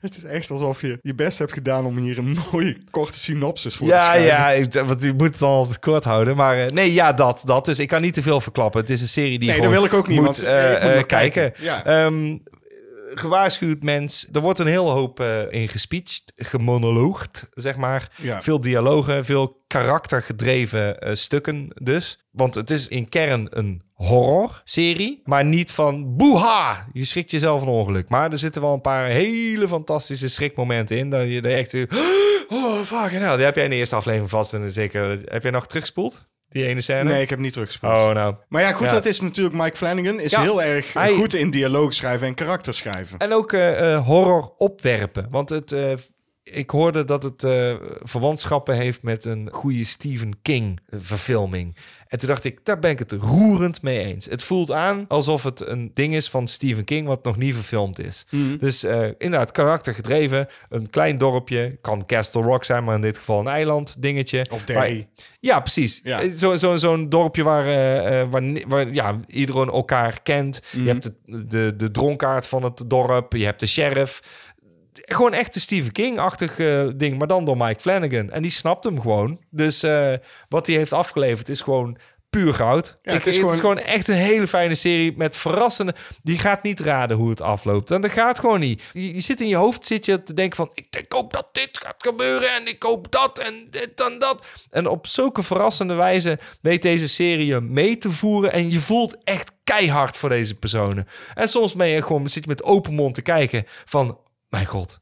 Het is echt alsof je je best hebt gedaan om hier een mooie korte synopsis voor te Ja, schrijven. ja, ik- want je moet het al kort houden. Maar eh, nee, ja, dat, dat. Dus ik kan niet te veel verklappen. Het is een serie die je Nee, dat gewoon wil ik ook niet, moet, want, eh, eh, ik moet eh, nog kijken. kijken. Ja. Ehm, gewaarschuwd mens. Er wordt een heel hoop eh in gespeecht, gemonoloogd, zeg maar. Ja. Veel dialogen, veel karaktergedreven eh, stukken dus. Want het is in kern een horrorserie, maar niet van boeha, je schrikt jezelf een ongeluk. Maar er zitten wel een paar hele fantastische schrikmomenten in, dat je er echt... eh, Oh, fucking hell. Die heb jij in de eerste aflevering vast en zeker... Heb jij nog teruggespoeld? Die ene scène? Nee, ik heb niet teruggespoeld. Oh, nou. Maar ja, goed, Ja. dat is natuurlijk Mike Flanagan. Is Ja. heel erg Hij- goed in dialoog schrijven en karakter schrijven. En ook eh, eh, horror opwerpen. Want het, eh, ik hoorde dat het eh, verwantschappen heeft met een goede Stephen King eh, verfilming. En toen dacht ik, daar ben ik het roerend mee eens. Het voelt aan alsof het een ding is van Stephen King wat nog niet verfilmd is. Mhm. Dus eh, inderdaad, karakter gedreven. Een klein dorpje, kan Castle Rock zijn, maar in dit geval een eiland dingetje. Of Derry. Maar- ja, precies. Ja. Eh, zo- zo- Zo'n dorpje waar, eh, eh, waar, ni- waar ja, iedereen elkaar kent. Je hebt de, de, de dronkaard van het dorp. Je hebt de sheriff. Gewoon echt de Stephen King-achtig eh, ding, maar dan door Mike Flanagan. En die snapt hem gewoon. Dus eh, wat hij heeft afgeleverd is gewoon puur goud. Ja, Ik- het is gewoon- echt een hele fijne serie met verrassende... Die gaat niet raden hoe het afloopt. En dat gaat gewoon niet. Je, je zit in je hoofd zit je te denken van... Ik, ik hoop dat dit gaat gebeuren en ik hoop dat en dit en dat. En op zulke verrassende wijze weet deze serie je mee te voeren. En je voelt echt keihard voor deze personen. En soms ben je gewoon, zit je met open mond te kijken van... Mijn god,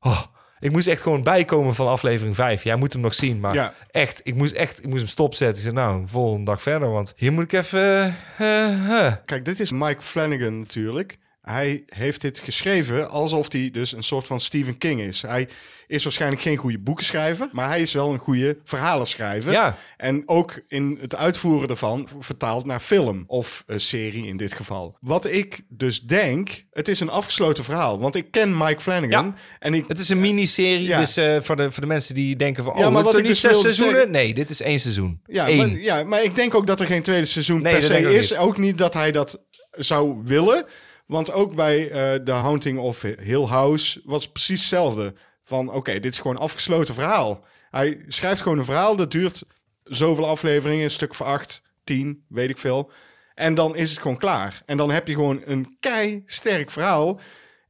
Oh, ik moest echt gewoon bijkomen van aflevering 5. Jij moet hem nog zien, maar Ja. echt, ik moest echt, ik moest hem stopzetten. Ik zei, nou, volgende dag verder, want hier moet ik even... eh, eh, eh. Kijk, dit is Mike Flanagan natuurlijk. Hij heeft dit geschreven alsof hij dus een soort van Stephen King is. Hij is waarschijnlijk geen goede boekenschrijver, maar hij is wel een goede verhalenschrijver. Ja. En ook in het uitvoeren daarvan vertaald naar film of eh, serie in dit geval. Wat ik dus denk, het is een afgesloten verhaal. Want ik ken Mike Flanagan Ja. en ik... Het is een miniserie, Ja. dus eh, voor, de, voor de mensen die denken van... Oh, Ja, maar maar wat wat ik niet dus zes wilde seizoenen? zeggen- Nee, dit is één seizoen. Ja, Eén. maar, ja, maar ik denk ook dat er geen tweede seizoen Nee, per dat se denk ik ook is. niet. Ook niet dat hij dat zou willen. Want ook bij eh The Haunting of Hill House was het precies hetzelfde. Van oké, dit is gewoon een afgesloten verhaal. Hij schrijft gewoon een verhaal, dat duurt zoveel afleveringen, een stuk voor acht, tien, weet ik veel. En dan is het gewoon klaar. En dan heb je gewoon een kei sterk verhaal.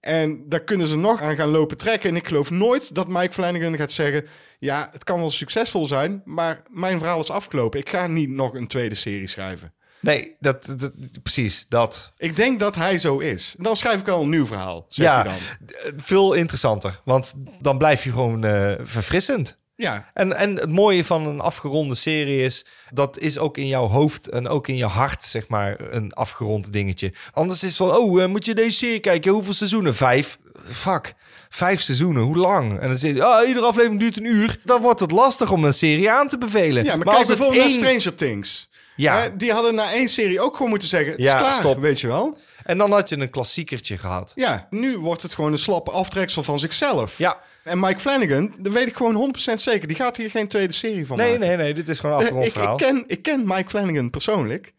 En daar kunnen ze nog aan gaan lopen trekken. En ik geloof nooit dat Mike Flanagan gaat zeggen: Ja, het kan wel succesvol zijn, maar mijn verhaal is afgelopen. Ik ga niet nog een tweede serie schrijven. Nee, dat, dat, precies, dat. Ik denk dat hij zo is. Dan schrijf ik al een nieuw verhaal, zegt ja, hij dan. eh, veel interessanter. Want dan blijf je gewoon eh, verfrissend. Ja, En, en het mooie van een afgeronde serie is... dat is ook in jouw hoofd en ook in je hart, zeg maar, een afgerond dingetje. Anders is het van, oh, eh, moet je deze serie kijken? Hoeveel seizoenen? Vijf? Fuck, vijf seizoenen, hoe lang? En dan zit je, ah, iedere aflevering duurt een uur. Dan wordt het lastig om een serie aan te bevelen. ja maar, kijk het bijvoorbeeld één- naar Stranger Things. Ja. Hè, die hadden na één serie ook gewoon moeten zeggen: Het Ja, is klaar, stop. weet je wel. En dan had je een klassiekertje gehad. Ja, nu wordt het gewoon een slappe aftreksel van zichzelf. Ja. En Mike Flanagan, dat weet ik gewoon 100% zeker, die gaat hier geen tweede serie van Oh, Nee, Eh, maken. Eh, nee, nee, dit is gewoon een afgerond ik, ik, verhaal. ken, ik ken Mike Flanagan persoonlijk.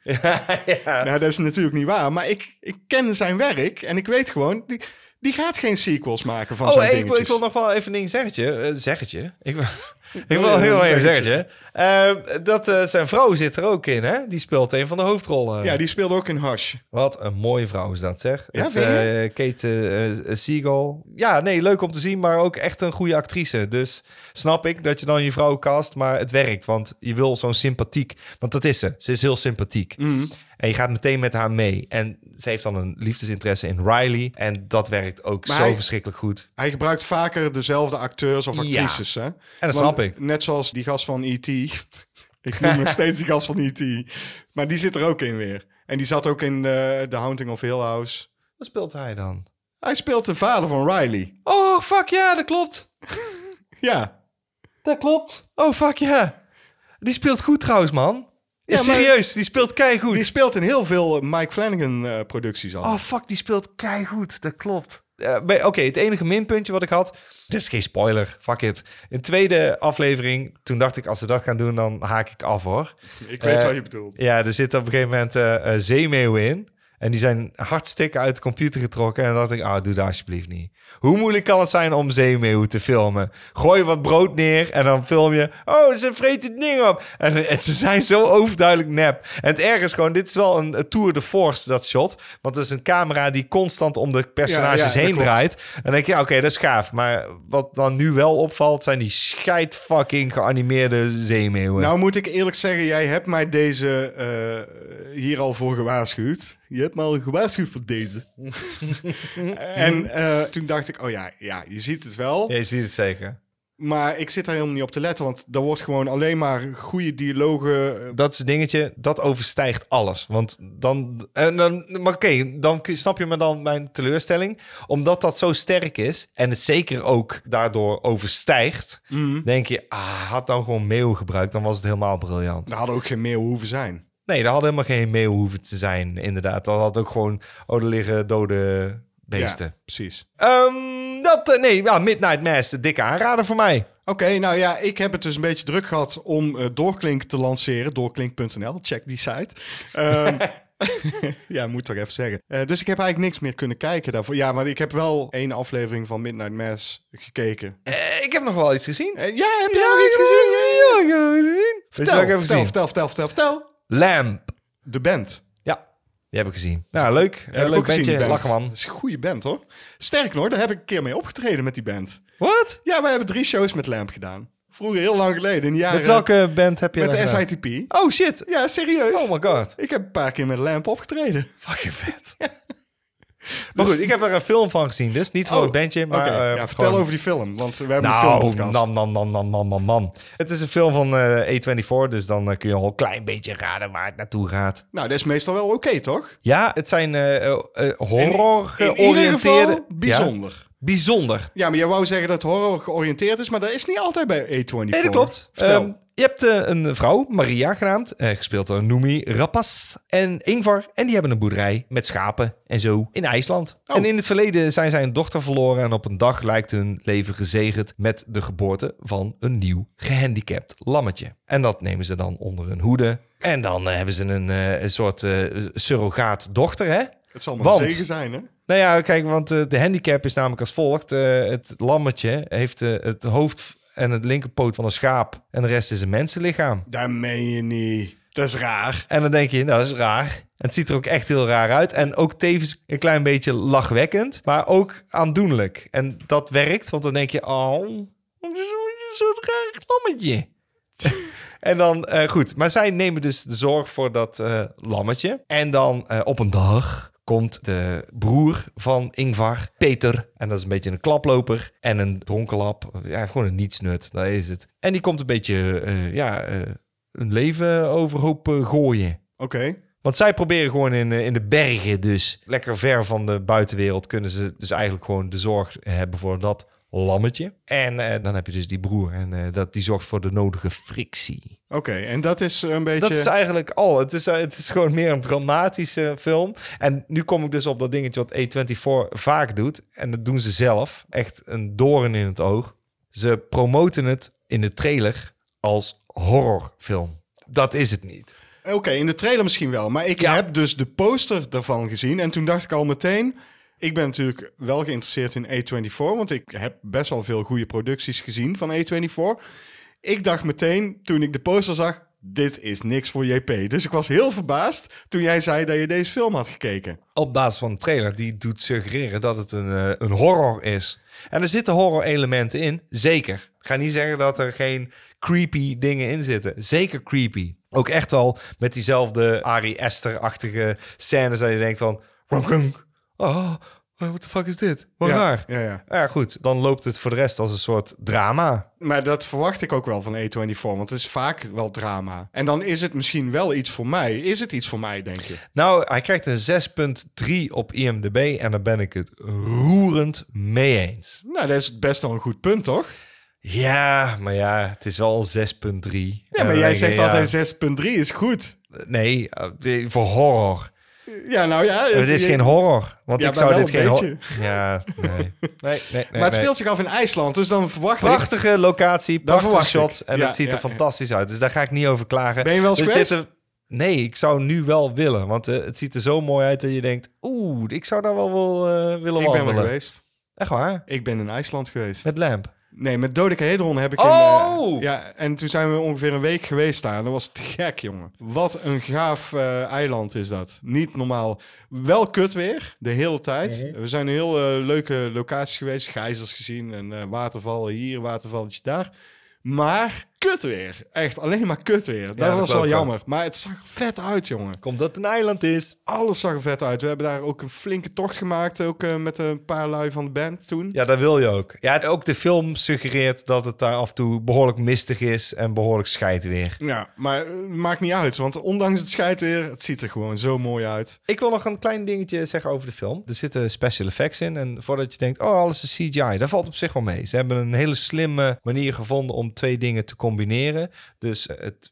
Nou, dat is natuurlijk niet waar. Maar ik, ik ken zijn werk en ik weet gewoon... Die, die gaat geen sequels maken van Oh, zijn ik, wil- dingetjes. ik wil nog wel even een ding zeggetje. eh, zeggetje. Ik wil, ik ja, wil heel even zeggetje. zeggetje. Eh, dat eh, zijn vrouw zit er ook in, hè? Die speelt een van de hoofdrollen. Ja, die speelde ook in Hush. Wat een mooie vrouw is dat, zeg. Ja, dat is, vind je? eh, Kate eh, eh, Siegel. Ja, nee, leuk om te zien, maar ook echt een goede actrice. Dus snap ik dat je dan je vrouw cast, maar het werkt. Want je wil zo'n sympathiek... Want dat is ze. Ze is heel sympathiek. Mhm. En je gaat meteen met haar mee. En ze heeft dan een liefdesinteresse in Riley. En dat werkt ook Maar zo hij- verschrikkelijk goed. Hij gebruikt vaker dezelfde acteurs of Ja. actrices. Hè? En dat snap ik. Net zoals die gast van E.T. ik noem nog steeds die gast van E.T. Maar die zit er ook in weer. En die zat ook in eh, The Haunting of Hill House. Wat speelt hij dan? Hij speelt de vader van Riley. Oh, fuck ja, dat klopt. Ja. Dat klopt. Oh, fuck ja. Die speelt goed trouwens, man. Ja, Ja, maar- serieus, die speelt keigoed. Die speelt in heel veel eh, Mike Flanagan-producties al. Oh, fuck, die speelt keigoed. Dat klopt. Eh, bij- Oké, het enige minpuntje wat ik had... Dit is geen spoiler, fuck it. In tweede aflevering, toen dacht ik... als ze dat gaan doen, dan haak ik af, hoor. ik weet eh, wat je bedoelt. Ja, er zit op een gegeven moment eh eh, zeemeeuwen in. En die zijn hartstikke uit de computer getrokken. En dan dacht ik, ah, doe dat alsjeblieft niet. Hoe moeilijk kan het zijn om zeemeeuwen te filmen? Gooi wat brood neer en dan film je... Oh, ze vreet het ding op. En, en ze zijn zo overduidelijk nep. En het erg is gewoon, dit is wel een, eh, tour de force, dat shot. Want het is een camera die constant om de Ja, ja, personages dat heen klopt. draait. En dan denk je, ja, oké, dat is gaaf. Maar wat dan nu wel opvalt, zijn die scheid fucking geanimeerde zeemeeuwen. Nou moet ik eerlijk zeggen, jij hebt mij deze eh, hier al voor gewaarschuwd. Je hebt me al gewaarschuwd voor deze. en eh, toen dacht ik, oh ja, ja, je ziet het wel. Ja, je ziet het zeker. Maar ik zit daar helemaal niet op te letten, want daar wordt gewoon alleen maar goede dialogen. eh, dat is het dingetje, dat overstijgt alles. Want dan, en dan maar oké, dan kun- snap je me dan mijn teleurstelling. Omdat dat zo sterk is en het zeker ook daardoor overstijgt, Mm. denk je, ah, had dan gewoon meeuw gebruikt, dan was het helemaal briljant. Daar hadden ook geen meer hoeven zijn. Nee, er had helemaal geen meeuw hoeven te zijn, inderdaad. Dat had ook gewoon, oh, er liggen dode beesten. Ja, precies. Ehm, dat, eh, nee, ja, Midnight Mass, de dikke aanrader voor mij. Oké, nou ja, ik heb het dus een beetje druk gehad om eh, Doorklink te lanceren. Doorklink.nl, check die site. Ehm, ja, moet toch even zeggen. Eh, dus ik heb eigenlijk niks meer kunnen kijken daarvoor. Ja, maar ik heb wel één aflevering van Midnight Mass gekeken. Eh, ik heb nog wel iets gezien. Eh, ja, heb jij nog iets gezien? Ja, ik heb nog iets gezien. Vertel, Vertel, ik heb vertel, gezien. vertel, vertel, vertel, vertel. Lamp. De band. Ja, die heb ik gezien. Nou, leuk. Heb Ja, ik leuk ook gezien, die bandje. band. Lachen, man. Dat is een goede band, hoor. Sterk nog, daar heb ik een keer mee opgetreden met die band. Wat? Ja, wij hebben drie shows met Lamp gedaan. Vroeger, heel lang geleden, in de jaren... Met welke band heb je Met dat de gedaan? SITP. Oh, shit. Ja, serieus. Oh my god. Oh, Ik heb een paar keer met Lamp opgetreden. Fucking vet. Maar goed, ik heb er een film van gezien, dus niet voor Dus- Oh, het bandje, maar Oké, eh, ja, vertel gewoon- over die film, want we hebben een Nou, filmpodcast. nam, nam, nam, nam, nam, nam, nam. Het is een film van eh A24, dus dan eh, kun je al een klein beetje raden waar het naartoe gaat. Nou, dat is meestal wel oké, toch? Ja, het zijn eh, eh, eh, In- horror In ieder georiënteerde... geval bijzonder. Ja? Ja, bijzonder. maar jij wou zeggen dat horror georiënteerd is, maar dat is niet altijd bij A24. Nee, dat klopt. Vertel. Ehm, je hebt eh, een vrouw, Maria genaamd, eh, gespeeld door Noemi Rapace en Ingvar. En die hebben een boerderij met schapen en zo in IJsland. Oh. En in het verleden zijn zij een dochter verloren en op een dag lijkt hun leven gezegend met de geboorte van een nieuw gehandicapt lammetje. En dat nemen ze dan onder hun hoede. En dan eh, hebben ze een, eh, een soort eh surrogaat dochter, hè? het zal maar een want- zegen zijn, hè? Nou ja, kijk, want eh, de handicap is namelijk als volgt. Eh, het lammetje heeft eh, het hoofd en het linkerpoot van een schaap. En de rest is een mensenlichaam. Dat meen je niet. Dat is raar. En dan denk je, nou, dat is raar. En het ziet er ook echt heel raar uit. En ook tevens een klein beetje lachwekkend. Maar ook aandoenlijk. En dat werkt, want dan denk je, oh, wat is een soort raar lammetje. En dan, eh, goed, maar zij nemen dus de zorg voor dat eh, lammetje. En dan eh, op een dag komt de broer van Ingvar, Peter. En dat is een beetje een klaploper en een dronkenlap. Ja, gewoon een nietsnut, dat is het. En die komt een beetje, eh, ja, eh, een leven overhoop eh, gooien. Oké. Want zij proberen gewoon in, eh, in de bergen dus, lekker ver van de buitenwereld, kunnen ze dus eigenlijk gewoon de zorg hebben voor dat lammetje. En eh, dan heb je dus die broer en eh, dat, die zorgt voor de nodige frictie. Oké, en dat is een beetje... Dat is eigenlijk al. Het is, eh, het is gewoon meer een dramatische film. En nu kom ik dus op dat dingetje wat A24 vaak doet. En dat doen ze zelf. Echt een doorn in het oog. Ze promoten het in de trailer als horrorfilm. Dat is het niet. Eh, Oké, in de trailer misschien wel. Maar ik Ja. heb dus de poster daarvan gezien. En toen dacht ik al meteen... Ik ben natuurlijk wel geïnteresseerd in A24. Want ik heb best wel veel goede producties gezien van A24. Ik dacht meteen, toen ik de poster zag... Dit is niks voor JP. Dus ik was heel verbaasd toen jij zei dat je deze film had gekeken. Op basis van de trailer, die doet suggereren dat het een, eh, een horror is. En er zitten horror-elementen in, zeker. Ik ga niet zeggen dat er geen creepy dingen in zitten. Zeker creepy. Ook echt wel met diezelfde Ari Aster-achtige scènes dat je denkt van... "Ronk, ronk. Oh, what the fuck is dit? Wat raar. Ja, ja. Ja, goed. Dan loopt het voor de rest als een soort drama. Maar dat verwacht ik ook wel van A24. Want het is vaak wel drama. En dan is het misschien wel iets voor mij. Is het iets voor mij, denk je? Nou, hij krijgt een 6.3 op IMDb. En daar ben ik het roerend mee eens. Nou, dat is best wel een goed punt, toch? Ja, maar ja, het is wel 6.3. Ja, Eh, maar jij zegt altijd 6.3 is goed. Nee, eh, voor horror. Ja, nou ja. Het is geen horror. Want Ja, ik maar zou wel dit een geen... hor- beetje. Ja, nee. nee, nee, nee Maar het nee. speelt zich af in IJsland, dus dan verwacht ik... Prachtige locatie, prachtige verwacht ik. shots. En Ja, het ziet er ja, ja. fantastisch uit. Dus daar ga ik niet over klagen. Ben je wel eens Er geweest? zitten- Nee, ik zou nu wel willen. Want eh, het ziet er zo mooi uit dat je denkt... Oeh, ik zou daar wel, wel eh, willen Ik ben wandelen. wel geweest. Echt waar? Ik ben in IJsland geweest. Met lamp. Nee, met Dodecahedron heb ik een... Oh! eh, ja, en toen zijn we ongeveer een week geweest daar. En dat was te gek, jongen. Wat een gaaf eh, eiland is dat. Niet normaal. Wel kut weer, de hele tijd. Mhm. We zijn een heel eh, leuke locaties geweest. Gijzers gezien en eh, watervallen hier, watervalletje daar. Maar kut weer. Echt, alleen maar kut weer. dat dat was wel geloof ik wel. jammer. Maar het zag er vet uit, jongen. Komt dat het een eiland is. Alles zag er vet uit. We hebben daar ook een flinke tocht gemaakt. Ook eh, met een paar lui van de band toen. Ja, dat wil je ook. Ja, het- ook de film suggereert dat het daar af en toe behoorlijk mistig is en behoorlijk scheidt weer. Ja, maar eh, maakt niet uit, want ondanks het scheidweer, het ziet er gewoon zo mooi uit. Ik wil nog een klein dingetje zeggen over de film. Er zitten special effects in en voordat je denkt, oh, alles is CGI, dat valt op zich wel mee. Ze hebben een hele slimme manier gevonden om twee dingen te combineren. Dus eh, het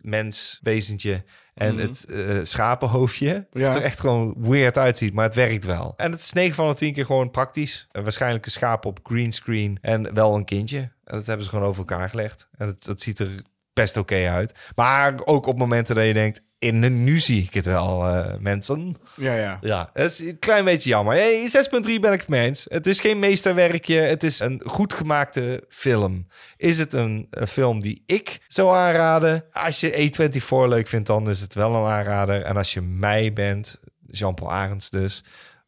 menswezentje en het eh, schapenhoofdje. Ja. Dat er echt gewoon weird uitziet, maar het werkt wel. En het is 9 van de 10 keer gewoon praktisch. Eh, waarschijnlijk een schaap op greenscreen en wel een kindje. En dat hebben ze gewoon over elkaar gelegd. En dat, dat ziet er best oké uit. Maar ook op momenten dat je denkt, in de, nu zie ik het wel, eh, mensen. Ja, ja. Ja, dat is een klein beetje jammer. Hey, 6.3 ben ik het mee eens. Het is geen meesterwerkje. Het is een goed gemaakte film. Is het een, een film die ik zou aanraden? Als je A24 leuk vindt, dan is het wel een aanrader. En als je mij bent, Jean-Paul Arends dus,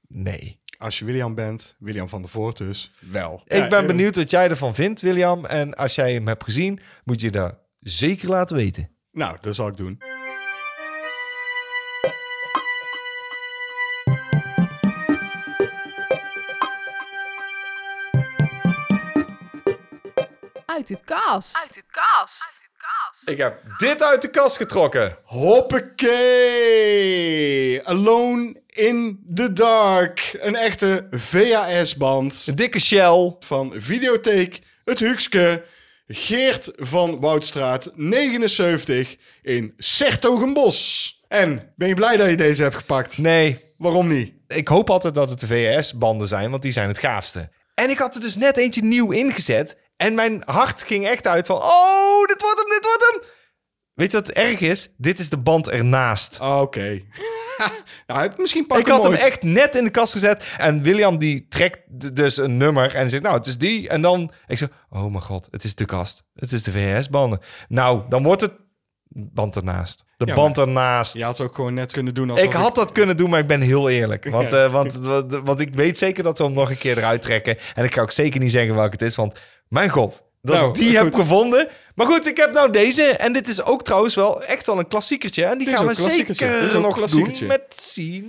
nee. Als je William bent, William van der Voort dus, wel. ik ben benieuwd wat jij ervan vindt, William. En als jij hem hebt gezien, moet je dat zeker laten weten. Nou, dat zal ik doen. Uit de kast. Uit de kast. Ik heb dit uit de kast getrokken. Hoppakee! Alone in the Dark. Een echte VHS-band Een dikke shell. van Videotheek Het Hukske. Geert van Woudstraat, 79, in Sertogenbos. En ben je blij dat je deze hebt gepakt? Nee, Waarom niet? ik hoop altijd dat het de VS-banden zijn, want die zijn het gaafste. En ik had er dus net eentje nieuw ingezet. En mijn hart ging echt uit van, oh, dit wordt hem, dit wordt hem. Weet je wat erg is? Dit is de band ernaast. Ah, Oké. nou, heb misschien pak ik had hem echt net in de kast gezet. En William die trekt d- dus een nummer en zegt, nou, het is die. En dan, ik zeg, oh mijn god, het is de kast. Het is de VS-banden. Nou, dan wordt het band ernaast. De Ja, band ernaast. Je had het ook gewoon net kunnen doen als Ik had dat kunnen doen, maar ik ben heel eerlijk. Want, Ja. eh, want, want, want ik weet zeker dat we hem nog een keer eruit trekken. En ik ga ook zeker niet zeggen welke het is, want mijn god, dat Nou, ik die goed. heb gevonden. Maar goed, ik heb nou deze. En dit is ook trouwens wel echt wel een klassiekertje. En die Dit is gaan we ook een klassiekertje. Dit is zeker ook nog een doen klassiekertje.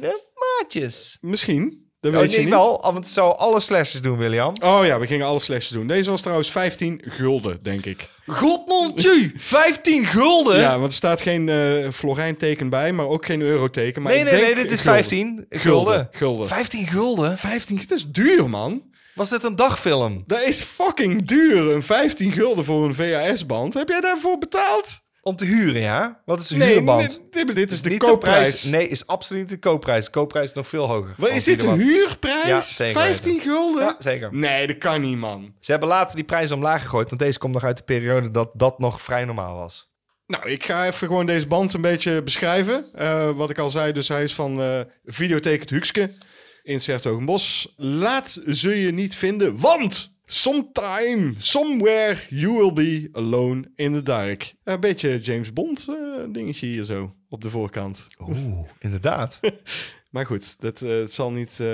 met cinemaatjes. Misschien. Dat Oh, weet je nee, niet. wel, want het zou alle slashers doen, William. Oh ja, we gingen alle slechts doen. Deze was trouwens 15 gulden, denk ik. Godnontje, 15 gulden? Oh. Ja, want er staat geen eh Florijn-teken bij, maar ook geen euroteken. Maar nee, ik nee, denk nee, dit is gulden. 15 Gulden. gulden. Gulden. 15 gulden? 15, dit is duur, man. Was dit een dagfilm? Dat is fucking duur. Een 15 gulden voor een VHS-band. Heb jij daarvoor betaald? Om te huren, ja? Wat is een Nee, huurband? nee, nee, dit is de Niet koopprijs. Nee, is absoluut niet de koopprijs. De koopprijs is nog veel hoger. Wat, van is dit een Videoland. huurprijs? Ja, zeker 15 gulden? Ja, zeker. Nee, dat kan niet, man. Ze hebben later die prijs omlaag gegooid, want deze komt nog uit de periode dat dat nog vrij normaal was. Nou, ik ga even gewoon deze band een beetje beschrijven. Eh, wat ik al zei, dus hij is van eh Videotheek het Hukske in Sertogenbos. Laat ze je niet vinden, want sometime, somewhere, you will be alone in the dark. Een beetje James Bond eh, dingetje hier zo op de voorkant. Oeh, inderdaad. Maar goed, dat eh, het zal niet... eh,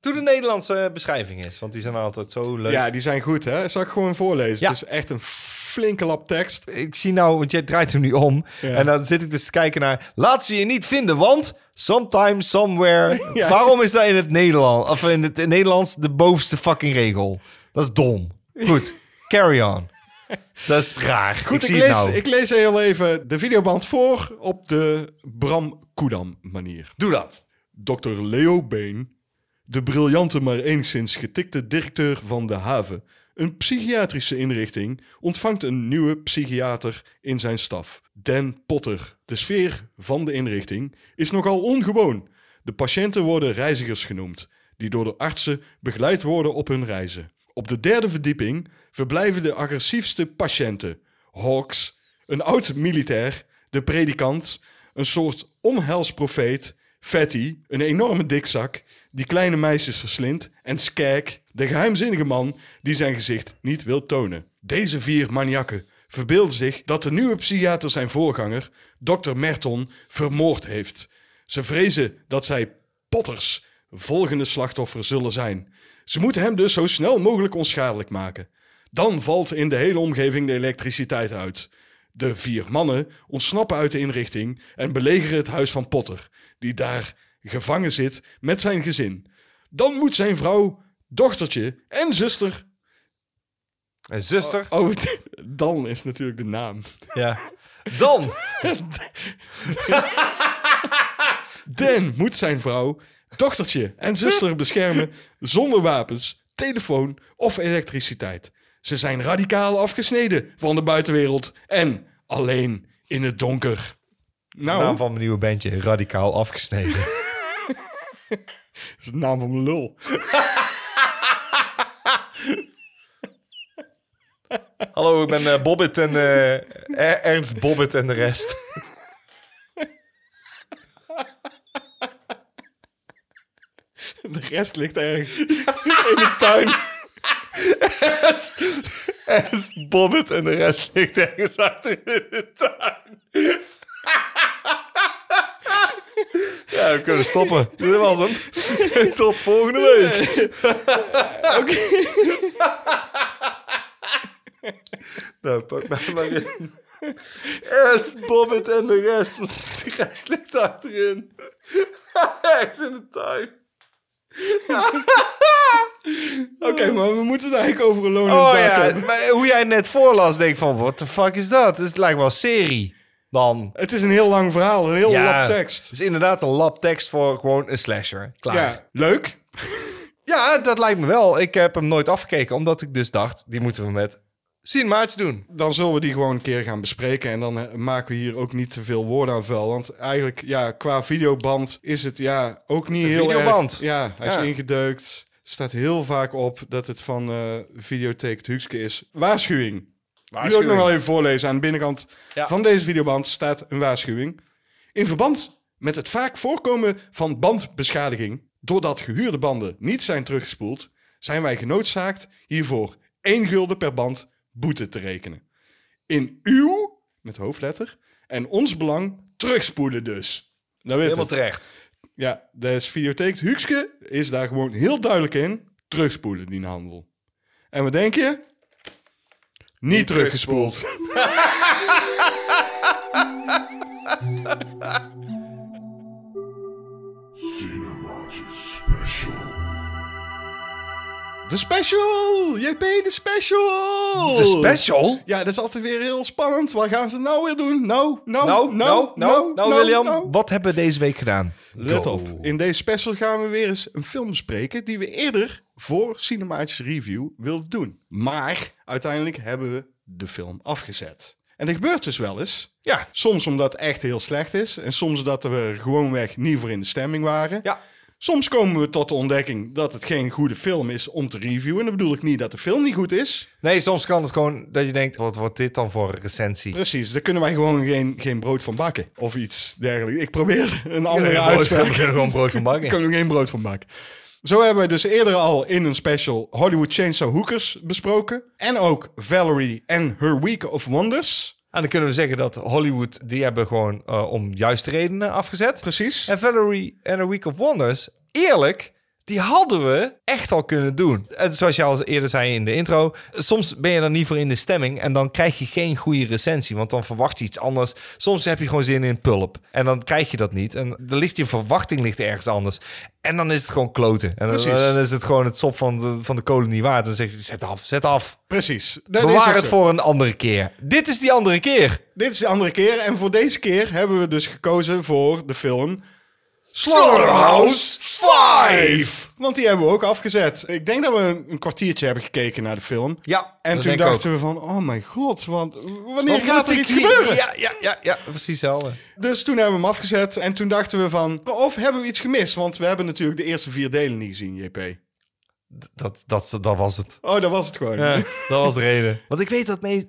Doe de Nederlandse beschrijving eens, want die zijn altijd zo leuk. Ja, die zijn goed, hè? Zal ik gewoon voorlezen? Ja. Het is echt een flinke lap tekst. ik zie nou, want jij draait hem nu om. Ja. En dan zit ik dus te kijken naar. Laat ze je niet vinden, want sometime, somewhere. Ja. Waarom is dat in het Nederlands? Of in het in het Nederlands de bovenste fucking regel? Dat is dom. Goed, carry on. Dat is raar. Goed, ik, zie lees, het nou. ik lees heel even de videoband voor op de Bram Koedam manier. Doe dat. Dr. Leo Been, de briljante maar enigszins getikte directeur van de haven, een psychiatrische inrichting, ontvangt een nieuwe psychiater in zijn staf, Dan Potter. De sfeer van de inrichting is nogal ongewoon. De patiënten worden reizigers genoemd, die door de artsen begeleid worden op hun reizen. Op de derde verdieping verblijven de agressiefste patiënten. Hawks, een oud militair, de predikant, een soort onheilsprofeet, Fatty, een enorme dikzak, die kleine meisjes verslindt, en Skag, de geheimzinnige man die zijn gezicht niet wil tonen. Deze vier maniakken verbeelden zich dat de nieuwe psychiater zijn voorganger, Dr. Merton, vermoord heeft. Ze vrezen dat zij Potters volgende slachtoffer zullen zijn. Ze moeten hem dus zo snel mogelijk onschadelijk maken. Dan valt in de hele omgeving de elektriciteit uit. De vier mannen ontsnappen uit de inrichting en belegeren het huis van Potter, die daar gevangen zit met zijn gezin. Dan moet zijn vrouw, dochtertje en zuster. En zuster. Oh, dan is natuurlijk de naam. Ja. Dan. Dan moet zijn vrouw, dochtertje en zuster beschermen zonder wapens, telefoon of elektriciteit. Ze zijn radicaal afgesneden van de buitenwereld en alleen in het donker. De naam Nou, van mijn nieuwe bandje, radicaal afgesneden. dat is de naam van mijn lul. Hallo, ik ben eh, Bobbit en eh, Er- Ernst Bobbit en de rest. De rest ligt ergens in de tuin. Ernst Bobbit en de rest ligt ergens achter in de tuin. Ja, we kunnen stoppen. Dit was hem. Tot volgende week. Nou, pak mij maar in. Ernst Bobbit en de rest. Want de rest ligt achterin. Ergens in de tuin. Oké, maar we moeten het eigenlijk over een loon in Oh het dak ja, hebben. maar hoe jij net voorlas, denk ik van, what the fuck is dat? Het lijkt wel een serie. Dan. Het is een heel lang verhaal, een heel lap tekst. Het is inderdaad een lab tekst voor gewoon een slasher. Klaar. Ja. Ja, leuk. dat lijkt me wel. Ik heb hem nooit afgekeken, omdat ik dus dacht, die moeten we met Cinemaats doen. Dan zullen we die gewoon een keer gaan bespreken. En dan eh, maken we hier ook niet te veel woorden aan vuil. Want eigenlijk, ja, qua videoband is het ja ook niet Het is een heel videoband. erg- Ja, hij Ja. is ingedeukt. Er staat heel vaak op dat het van eh Videotheek Huxke is. Waarschuwing. Die wil ik nog wel even voorlezen. Aan de binnenkant Ja. van deze videoband staat een waarschuwing. In verband met het vaak voorkomen van bandbeschadiging, doordat gehuurde banden niet zijn teruggespoeld, zijn wij genoodzaakt hiervoor 1 gulden per band boete te rekenen. In uw, met hoofdletter, en ons belang terugspoelen dus. Nou weet Helemaal het. terecht. Ja, de videotheek Huxke is daar gewoon heel duidelijk in. Terugspoelen die handel. En wat denk je? Niet, teruggespoeld. De special! JP, de special! De special? Ja, dat is altijd weer heel spannend. Wat gaan ze nou weer doen? Nou, nou, Nou, nou, nou, nou, nou, William, nou. wat hebben we deze week gedaan? Let Go. op, in deze special gaan we weer eens een film bespreken die we eerder voor Cinematische Review wilden doen. Maar uiteindelijk hebben we de film afgezet. En dat gebeurt dus wel eens. Ja. Soms omdat het echt heel slecht is en soms dat we er gewoonweg niet voor in de stemming waren. Ja. Soms komen we tot de ontdekking dat het geen goede film is om te reviewen. En dan bedoel ik niet dat de film niet goed is. Nee, soms kan het gewoon dat je denkt, wat wordt dit dan voor een recensie? Precies, daar kunnen wij gewoon geen, geen brood van bakken of iets dergelijks. Ik probeer een We andere kunnen brood- we uitspraak. kunnen gewoon brood van Ik bakken. kan er geen brood van maken. Zo hebben we dus eerder al in een special Hollywood Chainsaw Hookers besproken. En ook Valerie en Her Week of Wonders. En dan kunnen we zeggen dat Hollywood, die hebben gewoon eh, om juiste redenen afgezet. Precies. En Valerie en A Week of Wonders, eerlijk, die hadden we echt al kunnen doen. En zoals je al eerder zei in de intro, soms ben je er niet voor in de stemming en dan krijg je geen goede recensie, want dan verwacht je iets anders. Soms heb je gewoon zin in pulp en dan krijg je dat niet. En dan ligt je verwachting ligt ergens anders. En dan is het gewoon kloten. En dan, Precies. dan is het gewoon het sop van de, van de kolen niet waard. En dan zeg je, zet af, zet af. Precies. Dat is Bewaar ook het zo. voor een andere keer. Dit is die andere keer. Dit is de andere keer. En voor deze keer hebben we dus gekozen voor de film... Slaughterhouse 5! Want die hebben we ook afgezet. Ik denk dat we een, een kwartiertje hebben gekeken naar de film. Ja, dat En toen denk ik ook. dachten we van, oh mijn god, want wanneer Wat moet gaat er ik iets hier- gebeuren? Ja, ja, ja, ja, precies hetzelfde. Dus toen hebben we hem afgezet en toen dachten we van... Of hebben we iets gemist? Want we hebben natuurlijk de eerste vier delen niet gezien, JP. Dat, dat, dat was het. Oh, dat was het gewoon. Ja, Ja, dat was de reden. Want ik weet dat mee,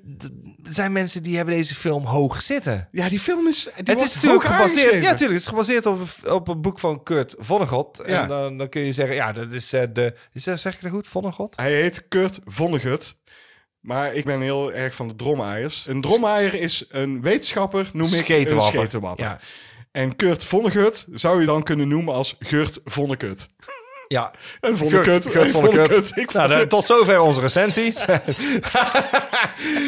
er zijn mensen die hebben deze film hoog zitten. die film is... Die het wordt is natuurlijk hoog gebaseerd, ja, aangeschreven. natuurlijk, het is gebaseerd op, op een boek van Kurt Vonnegut. Ja. En dan, dan kun je zeggen, ja, dat is eh, de... Is dat, zeg ik dat goed, Vonnegut? Hij heet Kurt Vonnegut. Maar ik ben heel erg van de drommaaiers. Een drommaaier is een wetenschapper, noem ik een Schetenwapper. schetenwapper. Ja. En Kurt Vonnegut zou je dan kunnen noemen als Gurt Vonnekut. Ja. En Vonnekut. Kurt, Kurt en Vonnegut. Vonnekut. Ik Nou, vond dan- het- tot zover onze recensie.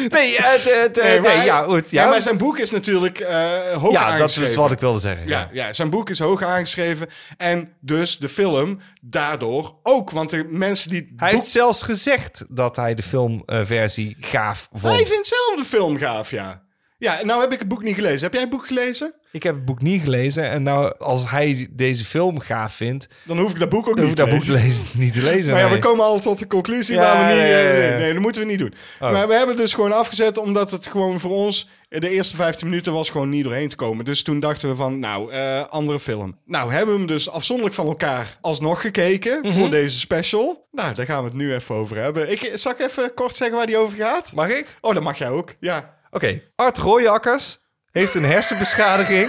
nee, het, het, eh, Nee, maar- nee, ja, goed. Nee, Ja, maar zijn boek is natuurlijk eh hoog ja dat aangeschreven. is wat ik wilde zeggen. Ja, ja, zijn boek is hoog aangeschreven. En dus de film daardoor ook. Want de mensen die. het Hij boek- heeft zelfs gezegd dat hij de filmversie gaaf vond. Hij vindt zelf de film gaaf, ja. Ja, nou heb ik het boek niet gelezen. Heb jij het boek gelezen? Ik heb het boek niet gelezen. En nou, als hij deze film gaaf vindt, Dan hoef ik dat boek ook dan hoef niet ik te dat boek lezen. lezen, niet te lezen. Maar ja, nee. we komen al tot de conclusie. Ja, waar we niet, ja, ja, eh, ja. Nee, nee, dat moeten we niet doen. Maar we hebben het dus gewoon afgezet, omdat het gewoon voor ons... eh, De eerste 15 minuten was gewoon niet doorheen te komen. Dus toen dachten we van, nou, eh, andere film. Nou, hebben we hem dus afzonderlijk van elkaar alsnog gekeken voor deze special. Nou, daar gaan we het nu even over hebben. Ik, zal ik even kort zeggen waar die over gaat? Mag ik? Oh, dat mag jij ook, ja. Oké. Art Royakkers heeft een hersenbeschadiging.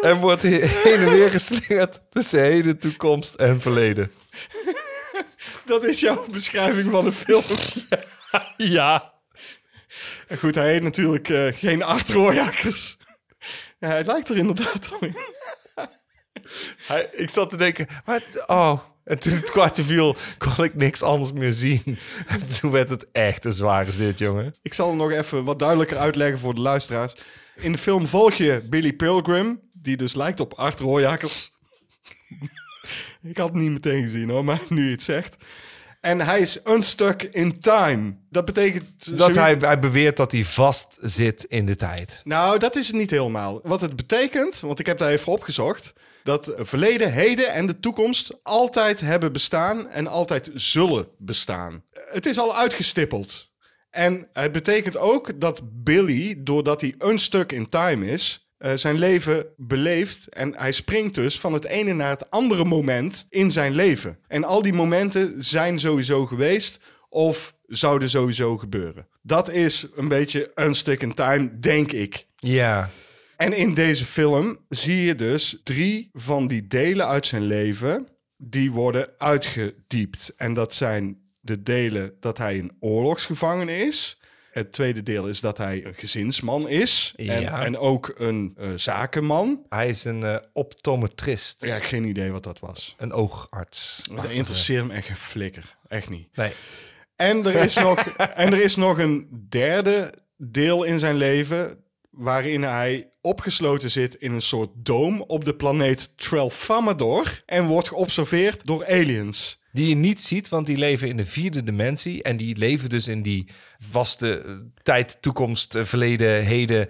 en wordt he- heen en weer geslingerd tussen heden, toekomst en verleden. Dat is jouw beschrijving van de film. Ja. Goed, hij heet natuurlijk eh, geen Art Royakkers. Ja, hij lijkt er inderdaad op. Hij- ik zat te denken, maar het- oh, En toen het kwartje viel, kon ik niks anders meer zien. En toen werd het echt een zware zit, jongen. Ik zal nog even wat duidelijker uitleggen voor de luisteraars. In de film volg je Billy Pilgrim, die dus lijkt op Art Rooijakers. ik had het niet meteen gezien hoor, maar nu je het zegt. En hij is unstuck in time. Dat betekent... eh, Dat zoiets- hij, hij beweert dat hij vast zit in de tijd. Nou, dat is het niet helemaal. Wat het betekent, want ik heb daar even opgezocht... dat verleden, heden en de toekomst altijd hebben bestaan... en altijd zullen bestaan. Het is al uitgestippeld. En het betekent ook dat Billy, doordat hij een stuk in time is... eh, zijn leven beleeft en hij springt dus van het ene naar het andere moment in zijn leven. En al die momenten zijn sowieso geweest of zouden sowieso gebeuren. Dat is een beetje een stick in time, denk ik. Ja, En in deze film zie je dus drie van die delen uit zijn leven die worden uitgediept. En dat zijn de delen dat hij een oorlogsgevangen is. Het tweede deel is dat hij een gezinsman is en, Ja. en ook een eh, zakenman. hij is een eh, optometrist. Ja, geen idee wat dat was. Een oogarts. Dat interesseert me echt geen flikker. Echt niet. Nee. En er is nog, en er is nog een derde deel in zijn leven. waarin hij opgesloten zit in een soort doom op de planeet Trelfamador. en wordt geobserveerd door aliens. Die je niet ziet, want die leven in de vierde dimensie. En die leven dus in die vaste eh, tijd, toekomst, eh, verleden, heden.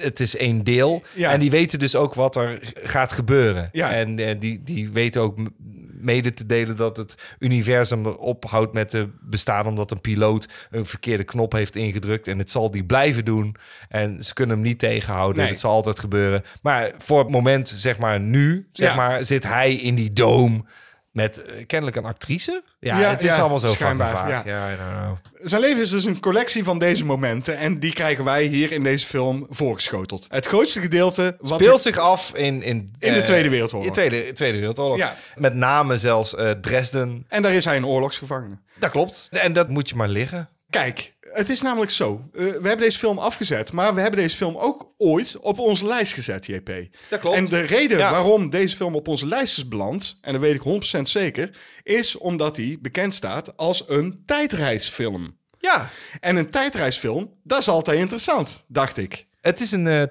Het is één deel. Ja. En die weten dus ook wat er g- gaat gebeuren. Ja. En eh, die, die weten ook m- mede te delen dat het universum ophoudt met te bestaan. Omdat een piloot een verkeerde knop heeft ingedrukt. En het zal die blijven doen. En ze kunnen hem niet tegenhouden. Nee. Het zal altijd gebeuren. Maar voor het moment, zeg maar nu, zeg Ja. maar, zit hij in die doom. Met eh, kennelijk een actrice. Ja, Ja, het is ja, allemaal zo schijnbaar, fucking vaag. ja. Ja, I don't know. Zijn leven is dus een collectie van deze momenten. en die krijgen wij hier in deze film voorgeschoteld. Het grootste gedeelte. Wat Speelt zich af in... In, In de eh, Tweede Wereldoorlog. In Tweede, Tweede Wereldoorlog. Ja. Met name zelfs eh, Dresden. En daar is hij een oorlogsgevangene. Dat klopt. En dat moet je maar liggen. Kijk, het is namelijk zo. Eh, we hebben deze film afgezet, maar we hebben deze film ook ooit op onze lijst gezet, JP. Dat klopt. En de reden Ja. waarom deze film op onze lijst is beland, en dat weet ik 100% zeker, is omdat hij bekend staat als een tijdreisfilm. Ja. En een tijdreisfilm, dat is altijd interessant, dacht ik. Het is een eh,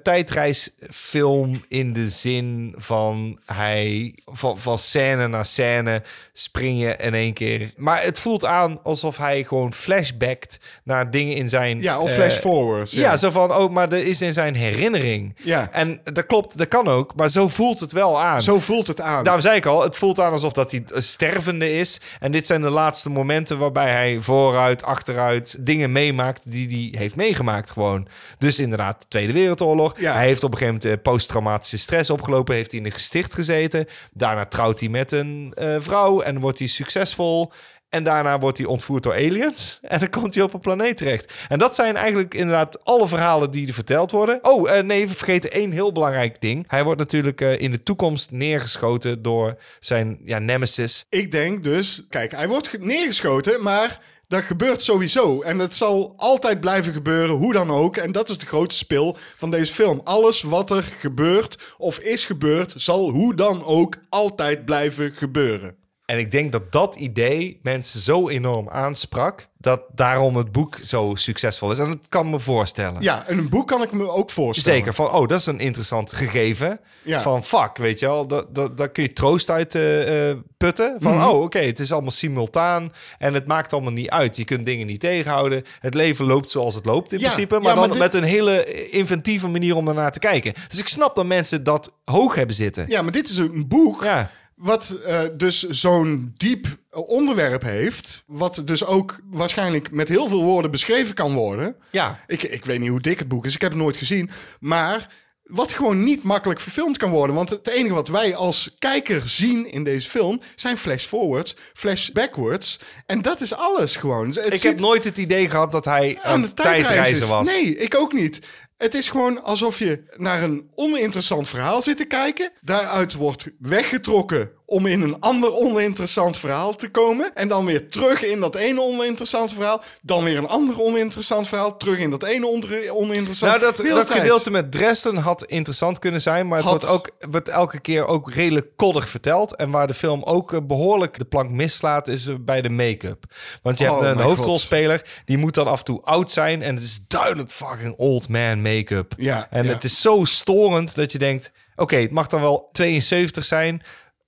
tijdreisfilm in de zin van hij van, van scène naar scène spring je in één keer. Maar het voelt aan alsof hij gewoon flashbackt naar dingen in zijn Ja, of eh, flash forwards. Ja. zo van, oh, maar dat is in zijn herinnering. Ja. En dat klopt, dat kan ook, maar zo voelt het wel aan. Zo voelt het aan. Daarom zei ik al, het voelt aan alsof dat hij een stervende is. En dit zijn de laatste momenten waarbij hij vooruit, achteruit dingen meemaakt die hij heeft meegemaakt gewoon. Dus inderdaad, de Tweede Wereldoorlog. Ja. Hij heeft op een gegeven moment eh, posttraumatische stress opgelopen. Heeft hij in een gesticht gezeten. Daarna trouwt hij met een eh, vrouw en wordt hij succesvol. En daarna wordt hij ontvoerd door aliens. En dan komt hij op een planeet terecht. En dat zijn eigenlijk inderdaad alle verhalen die er verteld worden. Oh, eh, nee, we vergeten één heel belangrijk ding. Hij wordt natuurlijk eh, in de toekomst neergeschoten door zijn ja, nemesis. Ik denk dus, kijk, hij wordt ge- neergeschoten, maar dat gebeurt sowieso. En dat zal altijd blijven gebeuren, hoe dan ook. En dat is de grote spil van deze film. Alles wat er gebeurt of is gebeurd, zal hoe dan ook altijd blijven gebeuren. En ik denk dat dat idee mensen zo enorm aansprak... dat daarom het boek zo succesvol is. En dat kan me voorstellen. Ja, en een boek kan ik me ook voorstellen. Zeker, van oh, dat is een interessant gegeven. Ja. Van fuck, weet je wel, dat, dat, daar kun je troost uit eh, eh, putten. Van Mhm. oh, oké, het is allemaal simultaan en het maakt allemaal niet uit. Je kunt dingen niet tegenhouden. Het leven loopt zoals het loopt in Ja, principe, maar ja, dan maar dit- met een hele inventieve manier om daarnaar te kijken. Dus ik snap dat mensen dat hoog hebben zitten. Ja, maar dit is een boek Ja. wat eh, dus zo'n diep eh, onderwerp heeft. Wat dus ook waarschijnlijk met heel veel woorden beschreven kan worden. Ja. Ik, ik weet niet hoe dik het boek is, ik heb het nooit gezien. Maar wat gewoon niet makkelijk verfilmd kan worden. Want het enige wat wij als kijker zien in deze film... zijn flash-forwards, flash-backwards. En dat is alles gewoon. Het Ik ziet heb nooit het idee gehad dat hij aan, het tijdreizen tijdreizen was. Nee, ik ook niet. Het is gewoon alsof je naar een oninteressant verhaal zit te kijken. Daaruit wordt weggetrokken om in een ander oninteressant verhaal te komen. En dan weer terug in dat ene oninteressant verhaal. Dan weer een ander oninteressant verhaal. Terug in dat ene onder- oninteressant Nou, dat, De hele dat tijd. gedeelte met Dresden had interessant kunnen zijn, maar het Had. wordt ook wordt elke keer ook redelijk koddig verteld. En waar de film ook eh, behoorlijk de plank mislaat, is eh, bij de make-up. Want je Oh hebt eh, een mijn hoofdrolspeler, die moet dan af en toe oud zijn. En het is duidelijk fucking old man make-up. Ja, en ja. het is zo storend dat je denkt, oké, het mag dan wel 72 zijn.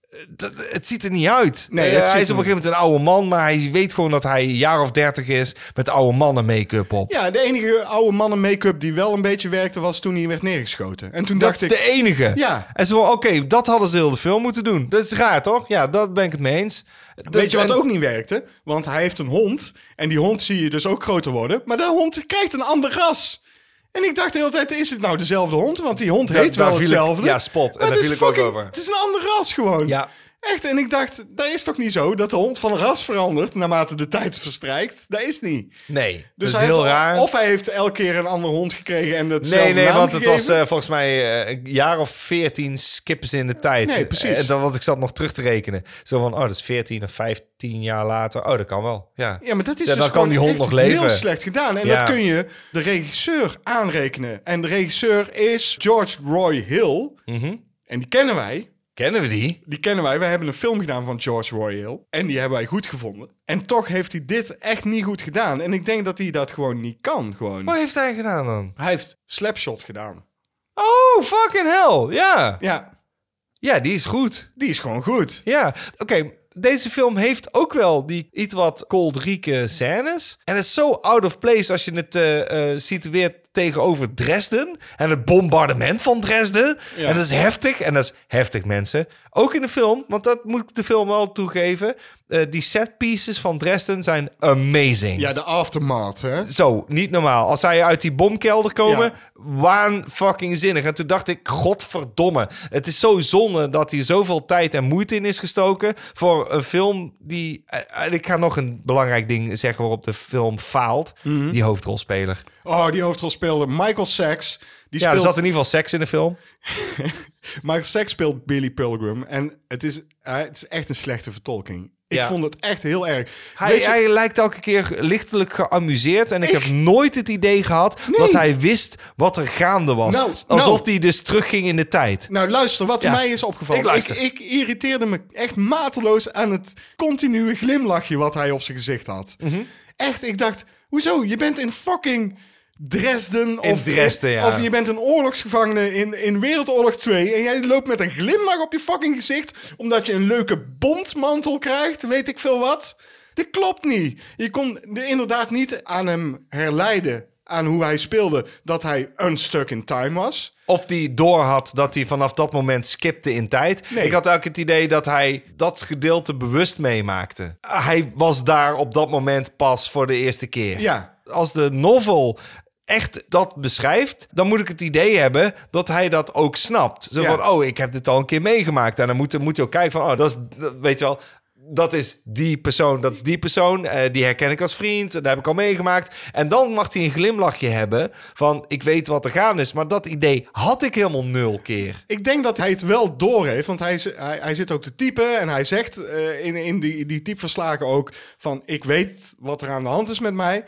Eh, dat- Het ziet er niet uit. Nee, Eh, het ziet hij is er op een gegeven moment een oude man, maar hij weet gewoon dat hij een jaar of 30 is met oude mannen make-up op. Ja, de enige oude mannen make-up die wel een beetje werkte was toen hij werd neergeschoten. En toen Dat dacht is ik... de enige. Ja. En ze van, oké, dat hadden ze heel de film moeten doen. Dat is raar, toch? Ja, dat ben ik het mee eens. Weet je wat en- ook niet werkte? Want hij heeft een hond. En die hond zie je dus ook groter worden. Maar dat hond krijgt een ander ras. En ik dacht de hele tijd, is het nou dezelfde hond? Want die hond Daar- heet daar wel viel ik- hetzelfde. ja, spot. En Maar daar het is viel ik ook fucking- over. Het is een ander ras gewoon. Ja. Echt, en ik dacht, dat is toch niet zo dat de hond van ras verandert naarmate de tijd verstrijkt? Dat is niet. Nee, dus Dus dat is hij heel heeft- raar. Of hij heeft elke keer een andere hond gekregen en dat Nee, nee, want het was eh, volgens mij eh, een jaar of veertien skippen ze in de tijd. Nee, precies. En dan, want ik zat nog terug te rekenen. Zo van, oh, dat is veertien of vijftien jaar later. Oh, dat kan wel. Ja, Ja, maar dat is Ja, dus dan kan die gewoon hond echt nog leven. heel slecht gedaan. En Ja. dat kun je de regisseur aanrekenen. En de regisseur is George Roy Hill. Mhm. En die kennen wij. Kennen we die? Die kennen wij. Wij hebben een film gedaan van George Roy Hill. En die hebben wij goed gevonden. En toch heeft hij dit echt niet goed gedaan. En ik denk dat hij dat gewoon niet kan. Gewoon. Wat heeft hij gedaan dan? Hij heeft Slapshot gedaan. Oh, fucking hell. Ja, Ja, ja die is goed. die is gewoon goed. Ja, oké. Deze film heeft ook wel die iets wat koldrieke scènes. En het is zo out of place als je het eh, eh, situeert tegenover Dresden. En het bombardement van Dresden. Ja. En dat is heftig. En dat is heftig, mensen. Ook in de film, want dat moet ik de film wel toegeven. eh, die set pieces van Dresden zijn amazing. Ja, de aftermath, hè? Zo, niet normaal. Als zij uit die bomkelder komen, Ja. waan fucking zinnig. En toen dacht ik, godverdomme. Het is zo zonde dat hier zoveel tijd en moeite in is gestoken voor een film die... eh, eh, Ik ga nog een belangrijk ding zeggen waarop de film faalt. Mhm. Die hoofdrolspeler. Oh, die hoofdrol speelde Michael Sachs. Die Ja, er speelt... zat in ieder geval seks in de film. Michael Sachs speelt Billy Pilgrim. En het is, eh, het is echt een slechte vertolking. Ik Ja. vond het echt heel erg. Hij, Weet je- hij lijkt elke keer lichtelijk geamuseerd. En ik, heb nooit het idee gehad dat hij wist wat er gaande was. Nou, Alsof nou. hij dus terugging in de tijd. Nou, luister, wat Ja, mij is opgevallen. ik luister. Ik, ik irriteerde me echt mateloos aan het continue glimlachje wat hij op zijn gezicht had. Mhm. Echt, ik dacht, hoezo? Je bent in fucking Dresden. In of, Dresden, ja. Of je bent een oorlogsgevangene in, in Wereldoorlog 2. En jij loopt met een glimlach op je fucking gezicht. Omdat je een leuke bontmantel krijgt, weet ik veel wat. Dat klopt niet. Je kon inderdaad niet aan hem herleiden. Aan hoe hij speelde, dat hij unstuck in time was. Of die door had dat hij vanaf dat moment skipte in tijd. Nee. Ik had ook het idee dat hij dat gedeelte bewust meemaakte. Hij was daar op dat moment pas voor de eerste keer. Ja. Als de novel echt dat beschrijft, dan moet ik het idee hebben dat hij dat ook snapt. Zo Ja. van, oh, ik heb dit al een keer meegemaakt. En dan moet, moet je ook kijken van, oh, dat is, dat, weet je wel... Dat is die persoon, dat is die persoon. eh, die herken ik als vriend. Dat heb ik al meegemaakt. En dan mag hij een glimlachje hebben van... ik weet wat er gaan is. Maar dat idee had ik helemaal nul keer. Ik denk dat hij het wel door heeft, want hij, z- hij, hij zit ook te typen en hij zegt eh, in, in die, die typverslagen ook van ik weet wat er aan de hand is met mij.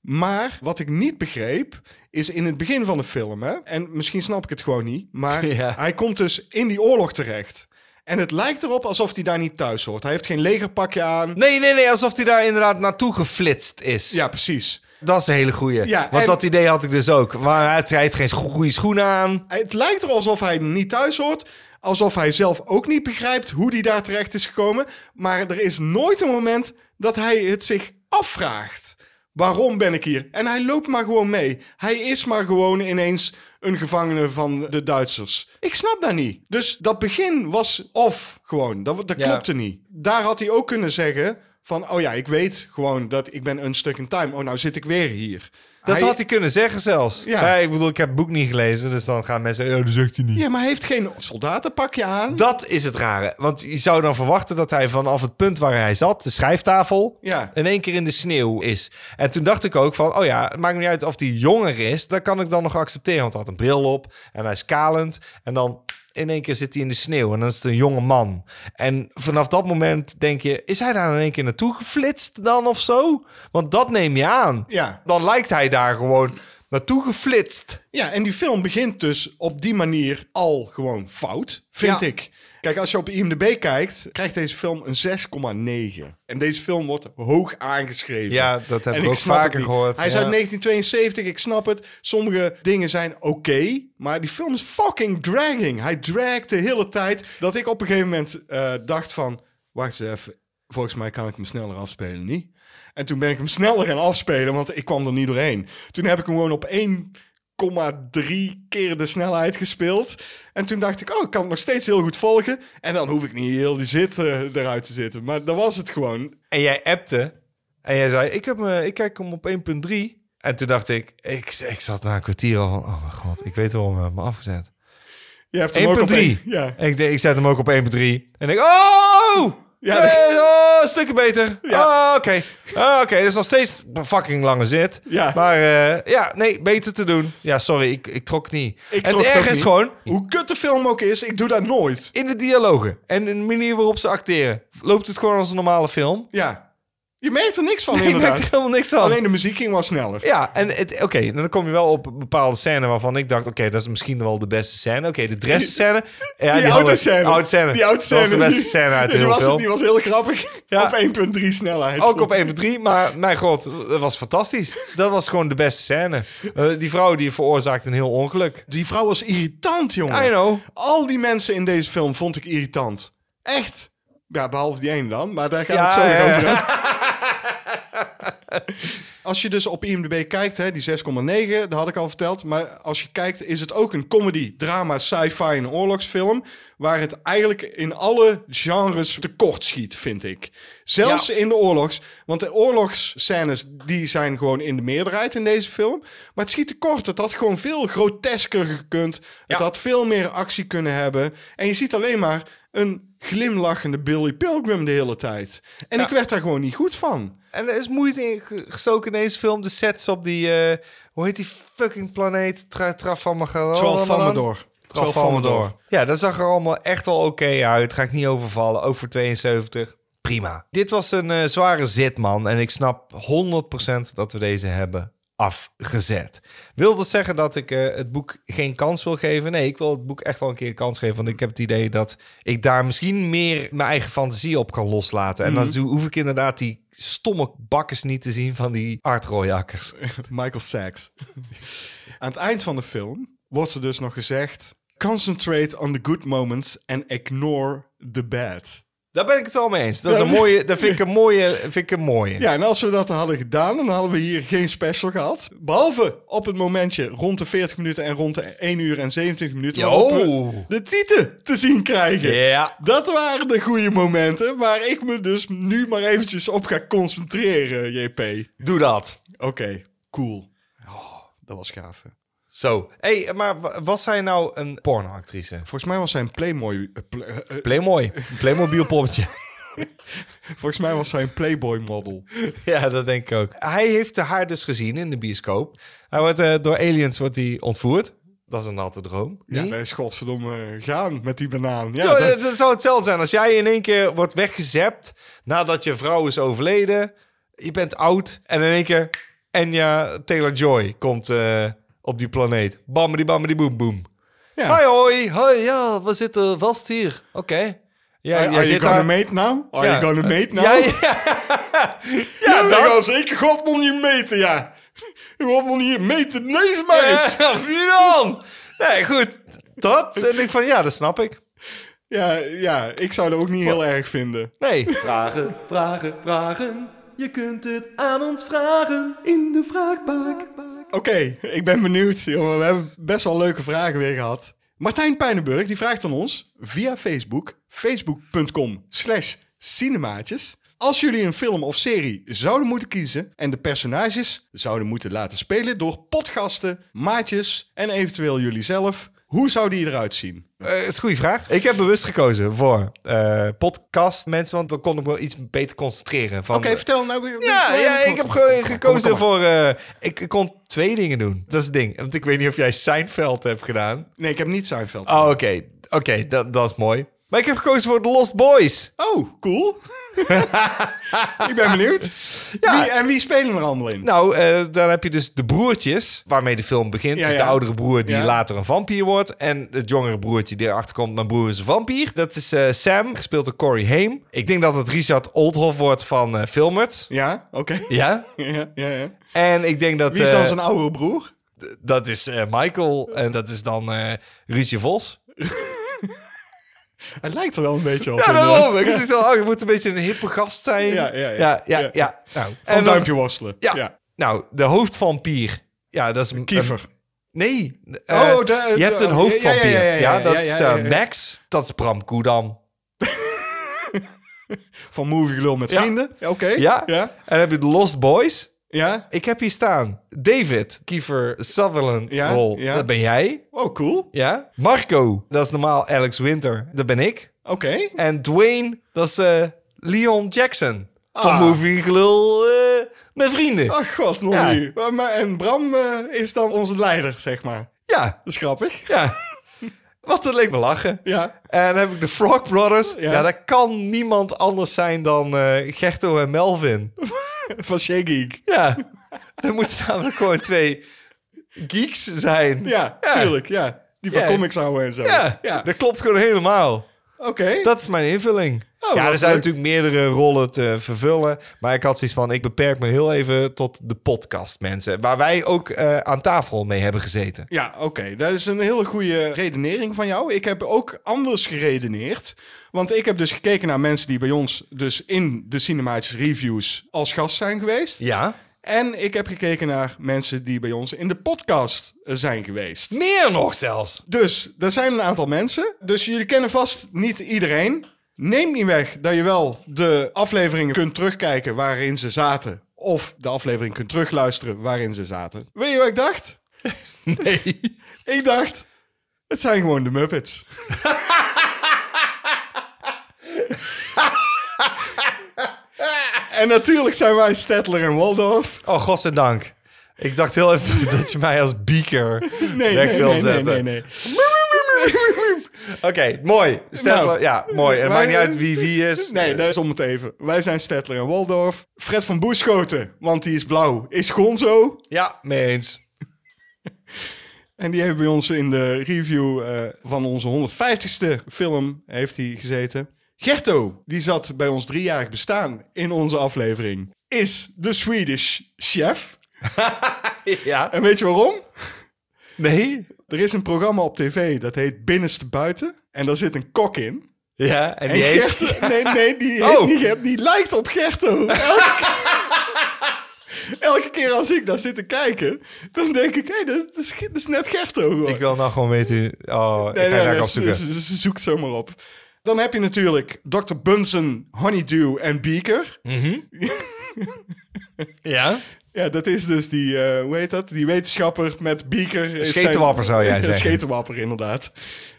Maar wat ik niet begreep is in het begin van de film, hè, en misschien snap ik het gewoon niet, maar Ja. hij komt dus in die oorlog terecht. En het lijkt erop alsof hij daar niet thuis hoort. Hij heeft geen legerpakje aan. Nee, nee, nee. Alsof hij daar inderdaad naartoe geflitst is. Ja, precies. Dat is een hele goeie. Ja, Want en- dat idee had ik dus ook. Maar hij heeft, hij heeft geen goede schoenen aan. Het lijkt er alsof hij niet thuis hoort. Alsof hij zelf ook niet begrijpt hoe hij daar terecht is gekomen. Maar er is nooit een moment dat hij het zich afvraagt. Waarom ben ik hier? En hij loopt maar gewoon mee. Hij is maar gewoon ineens een gevangene van de Duitsers. Ik snap dat niet. Dus dat begin was off gewoon. Dat, dat Ja. klopte niet. Daar had hij ook kunnen zeggen Van, oh ja, ik weet gewoon dat ik ben een stuk in time. Oh, nou zit ik weer hier. Dat hij... had hij kunnen zeggen zelfs. Ja. Ja. ik bedoel, ik heb het boek niet gelezen, dus dan gaan mensen... Ja, dat zegt hij niet. Ja, maar hij heeft geen soldatenpakje aan. Dat is het rare. Want je zou dan verwachten dat hij vanaf het punt waar hij zat, de schrijftafel, Ja. in één keer in de sneeuw is. En toen dacht ik ook van, oh ja, het maakt niet uit of hij jonger is. Dat kan ik dan nog accepteren, want hij had een bril op en hij is kalend. En dan in één keer zit hij in de sneeuw en dan is het een jonge man. En vanaf dat moment denk je, is hij daar in één keer naartoe geflitst dan of zo? Want dat neem je aan. Ja. Dan lijkt hij daar gewoon naartoe geflitst. Ja, en die film begint dus op die manier al gewoon fout, vind Ja. ik. Kijk, als je op IMDb kijkt, krijgt deze film een 6,9. En deze film wordt hoog aangeschreven. Ja, dat heb En ik ook snap het vaker niet. gehoord, Hij is ja. uit 1972, ik snap het. Sommige dingen zijn oké, maar die film is fucking dragging. Hij dragt de hele tijd. Dat ik op een gegeven moment eh, dacht van, wacht eens even, volgens mij kan ik hem sneller afspelen, niet? En toen ben ik hem sneller gaan afspelen, want ik kwam er niet doorheen. Toen heb ik hem gewoon op 1,3 keer de snelheid gespeeld. En toen dacht ik, oh, ik kan het nog steeds heel goed volgen. En dan hoef ik niet heel die zit eh, eruit te zitten. Maar dat was het gewoon. En jij appte. En jij zei, ik, heb, me, ik kijk hem op 1.3. En toen dacht ik, ik, ik zat na een kwartier al van... Oh mijn god, ik weet waarom we hem afgezet. 1.3. Je hebt hem ook op één- Ja. Ik, de- ik zet hem ook op 1.3. En ik, oh! Ja, Ja, dat- oh, stukken beter. Ja. Oh, oké. Oh, oké, dat is nog steeds een fucking lange zit. Ja. Maar eh, ja, nee, beter te doen. Ja, sorry, ik, ik trok niet. Ik het trok het erg ook is niet. gewoon, Hoe kut de film ook is, ik doe dat nooit. in de dialogen en in de manier waarop ze acteren... loopt het gewoon als een normale film. Ja. Je merkt er niks van, Ik merk inderdaad. er helemaal niks van. Alleen de muziek ging wel sneller. Ja, en het- oké, dan kom je wel op een bepaalde scène waarvan ik dacht, oké, dat is misschien wel de beste scène. Oké, de dressenscène. Ja, die hadden- oude scène. oude scène. Die oude scène. Dat was de beste scène uit de die, hele was, film. die was heel grappig. Ja. Op 1,3 snelheid. Ook op 1.3, maar mijn god, dat was fantastisch. Dat was gewoon de beste scène. Eh, die vrouw die veroorzaakt een heel ongeluk. Die vrouw was irritant, jongen. I know. Al die mensen in deze film vond ik irritant. Echt. Ja, behalve die ene dan, maar daar gaan Ja, we het zo nog ja, over hebben. Als je dus op IMDb kijkt, hè, die 6,9, dat had ik al verteld. Maar als je kijkt, is het ook een comedy, drama, sci-fi en oorlogsfilm... waar het eigenlijk in alle genres tekort schiet, vind ik. Zelfs Ja. in de oorlogs. Want de oorlogsscènes, die zijn gewoon in de meerderheid in deze film. Maar het schiet tekort. Het had gewoon veel grotesker gekund. Het Ja. had veel meer actie kunnen hebben. En je ziet alleen maar een glimlachende Billy Pilgrim de hele tijd. En Ja. ik werd daar gewoon niet goed van. En er is moeite in ge- gestoken in deze film. De sets op die, eh, hoe heet die fucking planeet? Tra Trafalgar. Oh, Tralfamador. Tralfamador. Ja, dat zag er allemaal echt wel oké uit. Ga ik niet overvallen. Ook voor 72. Prima. Dit was een eh, zware zit, man. En ik snap 100% dat we deze hebben afgezet. Wil dat zeggen dat ik eh, het boek geen kans wil geven? Nee, ik wil het boek echt wel een keer een kans geven. Want ik heb het idee dat ik daar misschien meer mijn eigen fantasie op kan loslaten. En dan hoef ik inderdaad die stomme bakkers niet te zien van die artrooiakkers. Michael Sachs. Aan het eind van de film wordt er dus nog gezegd... Concentrate on the good moments and ignore the bad. Daar ben ik het wel mee eens. Dat is Ja, een mooie. Dat vind ik een mooie. Vind ik een mooie. Ja, en als we dat hadden gedaan, dan hadden we hier geen special gehad. Behalve op het momentje rond de 40 minuten en rond de 1 uur en 70 minuten... Yo. waarop we de tieten te zien krijgen. Ja. Dat waren de goede momenten waar ik me dus nu maar eventjes op ga concentreren, JP. Doe dat. Oké, cool. Oh, dat was gaaf. hè. Zo. hey, maar wa- was zij nou een pornoactrice? Volgens mij was zijn Playmoy... eh, pla- eh, eh, Playmoy. Playmobil poppetje. volgens mij was zijn Playboy model. ja, dat denk ik ook. Hij heeft haar dus gezien in de bioscoop. Hij wordt eh, door aliens wordt hij ontvoerd. Dat is een natte droom. Ja, niet? dat is godverdomme gaan met die banaan. Ja, Ja, dat- dat, dat zou hetzelfde zijn. Als jij in één keer wordt weggezept nadat je vrouw is overleden. Je bent oud. En in één keer Enya Taylor-Joy komt eh, op die planeet. Bammedi, bammedi, boem, boem. ja. Hoi, hoi. Hoi, ja, we zitten vast hier. Oké. Ja, jij Are, are you zit gonna eh, daar- mate now? Are Ja. Eh, you gonna mate now? Ja, Nou, ja. Ja, dat- dat kan zeker God nog niet meten, ja. God nog niet meten, nee, maar eens. Ja, wie dan? Nee, goed. Dat. En ik van, ja, dat snap ik. Ja, ja, ik zou dat ook niet heel erg vinden. Nee. Vragen, vragen, vragen. Je kunt het aan ons vragen in de vraagbak. Oké, ik ben benieuwd, jongen. We hebben best wel leuke vragen weer gehad. Martijn Pijnenburg, die vraagt aan ons via Facebook, facebook.com slash cinemaatjes. Als jullie een film of serie zouden moeten kiezen en de personages zouden moeten laten spelen door podgasten, maatjes en eventueel jullie zelf, hoe zou die eruit zien? Eh, dat is een goede vraag. Ik heb bewust gekozen voor eh podcast mensen, want dan kon ik me iets beter concentreren. Van, Oké, vertel nou. Ja, ja, ik heb gewoon ge- gekozen voor... eh, ik ik kon twee dingen doen. Dat is het ding. Want ik weet niet of jij Seinfeld hebt gedaan. Nee, ik heb niet Seinfeld. Oh, oké. Oké, dat, dat is mooi. Maar ik heb gekozen voor The Lost Boys. Oh, cool. ik ben benieuwd. Ja. Wie, en wie spelen er allemaal in? Nou, eh, dan heb je dus de broertjes, waarmee de film begint. Ja, dus de ja. oudere broer die Ja. later een vampier wordt. En het jongere broertje die erachter komt, mijn broer is een vampier. Dat is eh, Sam, gespeeld door Corey Haim. Ik denk dat het Richard Oldhoff wordt van eh Filmert. Ja, oké. Ja. Ja, ja, ja. En ik denk dat... Wie is dan eh, zijn oudere broer? Dat is eh, Michael en dat is dan eh Ruudje Vos. Hij lijkt er wel een beetje op. Ja, inderdaad. daarom. Het is wel, oh, je moet een beetje een hippe gast zijn. Ja, ja, ja. ja, ja, Ja. ja. Nou, Van en dan- duimpje worstelen. Ja. Nou, de hoofdvampier. Ja, dat is... een- Kiefer. Nee. eh, Oh, de- de- je hebt een oh, hoofdvampier. Ja, ja, ja, ja, ja, ja, dat ja, is ja, ja, eh, ja. Max. Dat is Bram Koedam. Van Movie Gelul met Ja. vrienden. Ja, Oké. Ja. En Ja. dan heb je de Lost Boys. Ja. Ik heb hier staan David Kiefer Sutherland Ja, rol. ja. Dat ben jij. Oh, cool. Ja. Marco. Dat is normaal Alex Winter. Dat ben ik. Oké. En Dwayne. Dat is eh, Leon Jackson. Van Ah. Movie Gelul eh, met vrienden. Ach Ah, god, Lonnie. Maar, maar- en Bram eh, is dan onze leider, zeg maar. Ja. Dat is grappig. Ja. Wat dat leek me lachen. Ja. En dan heb ik de Frog Brothers. Ja, Ja. dat kan niemand anders zijn dan eh, Gerto en Melvin. Van Shea Geek. Ja, dat moeten namelijk gewoon twee geeks zijn. Ja, tuurlijk. Ja. Die van Ja. comics houden en zo. Ja, dat klopt gewoon helemaal. Oké. Dat is mijn invulling. ja, Oh, wat er zijn leuk. natuurlijk meerdere rollen te vervullen. Maar ik had zoiets van, ik beperk me heel even tot de podcast mensen. Waar wij ook eh, aan tafel mee hebben gezeten. Ja, oké. Dat is een hele goede redenering van jou. Ik heb ook anders geredeneerd. Want ik heb dus gekeken naar mensen die bij ons dus in de cinematische reviews als gast zijn geweest. Ja. En ik heb gekeken naar mensen die bij ons in de podcast eh, zijn geweest. Meer nog zelfs. Dus er zijn een aantal mensen. Dus jullie kennen vast niet iedereen. Neem niet weg dat je wel de afleveringen kunt terugkijken waarin ze zaten. Of de aflevering kunt terugluisteren waarin ze zaten. Weet je wat ik dacht? Nee. Ik dacht, het zijn gewoon de Muppets. en natuurlijk zijn wij Stedtler en Waldorf. Oh, godzijdank. Ik dacht heel even dat je mij als beaker Nee, weg nee, wil nee, nee, zetten. nee, nee. Oké, mooi. Stel, Nou. ja, mooi. Het Wij- maakt niet uit wie wie is. Nee, dat is om het even. Wij zijn Stedtler en Waldorf. Fred van Boeschoten, want die is blauw, is Gonzo. Ja, mee eens. En die heeft bij ons in de review eh, van onze 150ste film heeft hij gezeten. Gerto, die zat bij ons driejarig bestaan in onze aflevering, is de Swedish chef. Ja. En weet je waarom? Nee? Er is een programma op tv dat heet Binnenste Buiten. En daar zit een kok in. Ja, en die En heeft... Gert, nee, nee, die, heet Oh. niet Gert, die lijkt op Gerto. Elke, elke keer als ik daar zit te kijken, dan denk ik, hé, hey, dat, is, dat is net Gerto. gewoon. Ik wil nou gewoon weten... Oh, ik ga je graag ze, opzoeken. ze- ze zoekt zomaar op. Dan heb je natuurlijk Dr. Bunsen, Honeydew en Beaker. Ja? Ja, dat is dus die, eh, hoe heet dat? Die wetenschapper met Beaker. is zijn- Schetenwapper zou jij zeggen. Schetenwapper, inderdaad.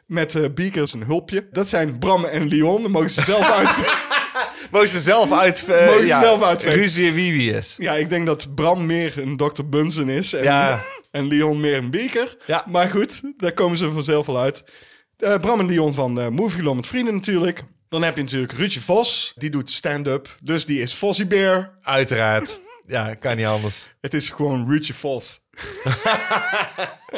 Met eh, Beaker zijn hulpje. Dat zijn Bram en Leon. Dat mogen ze zelf uitvinden. Mogen ze zelf uit... eh, Mogen ze zelf uitvechten. Ruzie en wie wie is. Ja, ik denk dat Bram meer een Dr. Bunsen is en, Ja. en Leon meer een beaker. Ja. Maar goed, daar komen ze vanzelf wel uit. Eh, Bram en Leon van eh Movie Law met Vrienden natuurlijk. Dan heb je natuurlijk Ruudje Vos, die doet stand-up. Dus die is Fossie Bear. Uiteraard. Ja, kan niet anders. Het is gewoon Ruudje Vos.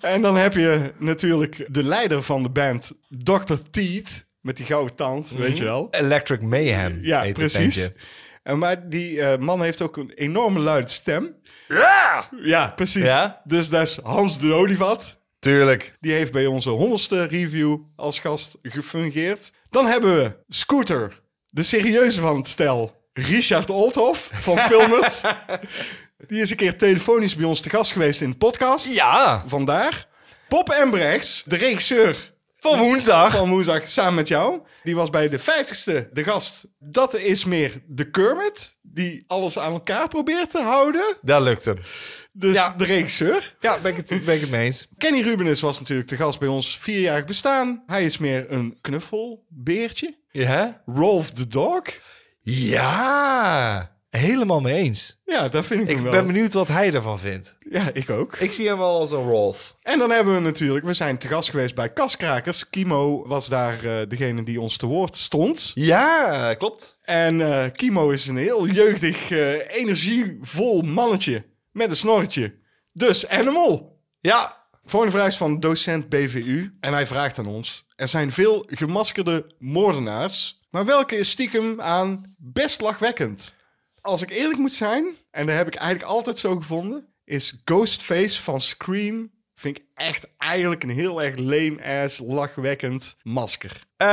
en dan heb je natuurlijk de leider van de band, Dr. Teeth. Met die gouden tand, weet je wel. Electric Mayhem Ja, Mhm. heet het precies. bandje. En maar die eh, man heeft ook een enorme luide stem. Ja! Ja, precies. Ja? Dus dat is Hans de Olivat. Tuurlijk. Die heeft bij onze honderdste review als gast gefungeerd. Dan hebben we Scooter, de serieuze van het stel. Richard Oldhoff van Filmers. die is een keer telefonisch bij ons te gast geweest in de podcast. Ja. Vandaar. Bob Embrechts, de regisseur Van woensdag. Van woensdag samen met jou. Die was bij de 50ste de gast. Dat is meer de Kermit. Die alles aan elkaar probeert te houden. Dat lukt hem. Dus Ja. de regisseur. Ja, ben ik het, ben ik het mee eens. Kenny Rubenis was natuurlijk de gast bij ons vierjarig bestaan. Hij is meer een knuffelbeertje. Ja? Rolf the Dog. Ja! Helemaal mee eens. Ja, dat vind ik, Ik hem wel. ben benieuwd wat hij ervan vindt. Ja, ik ook. Ik zie hem wel als een Rolf. En dan hebben we natuurlijk, we zijn te gast geweest bij Kaskrakers. Kimo was daar eh, degene die ons te woord stond. Ja, klopt. En eh, Kimo is een heel jeugdig, eh, energievol mannetje met een snorretje. Dus Animal. Ja. Volgende vraag is van docent BVU. En hij vraagt aan ons. Er zijn veel gemaskerde moordenaars. Maar welke is stiekem aan best lachwekkend? Als ik eerlijk moet zijn, en dat heb ik eigenlijk altijd zo gevonden... is Ghostface van Scream... vind ik echt eigenlijk een heel erg lame-ass, lachwekkend masker. Eh,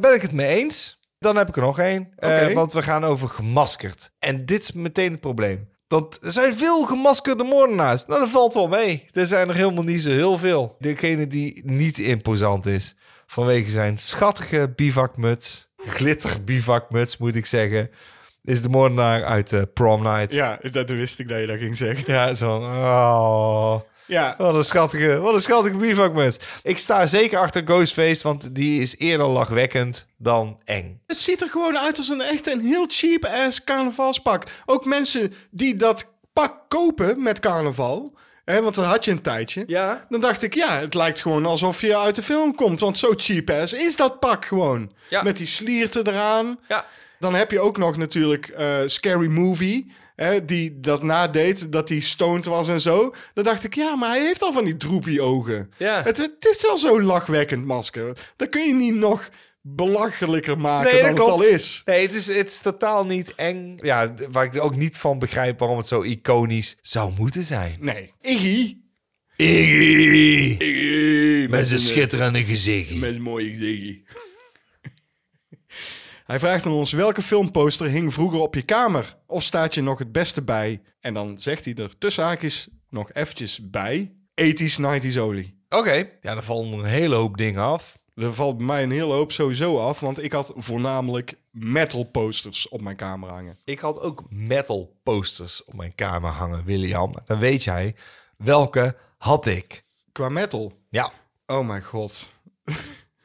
ben ik het mee eens? Dan heb ik er nog één. Eh, Oké. want we gaan over gemaskerd. En dit is meteen het probleem. Dat er zijn veel gemaskerde moordenaars. Nou, dat valt wel mee. Er zijn er helemaal niet zo heel veel. Degene die niet imposant is. Vanwege zijn schattige bivakmuts. Glitter bivakmuts, moet ik zeggen. Is de moordenaar uit eh, Prom Night. Ja, Ja, dat wist ik dat je dat ging zeggen. zo. Oh. Ja, Wat een schattige, wat een schattige bivakmuts. Ik sta zeker achter Ghostface, want die is eerder lachwekkend dan eng. Het ziet er gewoon uit als een echt een heel cheap ass carnavalspak. Ook mensen die dat pak kopen met carnaval. Hè, want dat had je een tijdje. Ja. Dan dacht ik, ja, het lijkt gewoon alsof je uit de film komt. Want zo cheap ass is dat pak gewoon. Ja. Met die slierten eraan. Ja. Dan heb je ook nog natuurlijk eh, Scary Movie. Hè, die dat nadeed, dat hij stoned was en zo. Dan dacht ik, ja, maar hij heeft al van die droepie ogen. Ja. Het, het is al zo'n lachwekkend masker. Dat kun je niet nog belachelijker maken dan het al is. Nee, het is, het is totaal niet eng. Ja, d- waar ik ook niet van begrijp waarom het zo iconisch zou moeten zijn. Nee. Iggy. Iggy! Iggy. Met zijn schitterende gezicht. een mooie Iggy. Hij vraagt aan ons welke filmposter hing vroeger op je kamer? Of staat je nog het beste bij? En dan zegt hij er tussen haakjes nog eventjes bij. 80s, 90s olie. Oké. Ja, daar vallen een hele hoop dingen af. Er valt bij mij een hele hoop sowieso af, want ik had voornamelijk metal posters op mijn kamer hangen. Ik had ook metal posters op mijn kamer hangen, William. Dan weet jij welke had ik. Qua metal. Ja. Oh mijn god.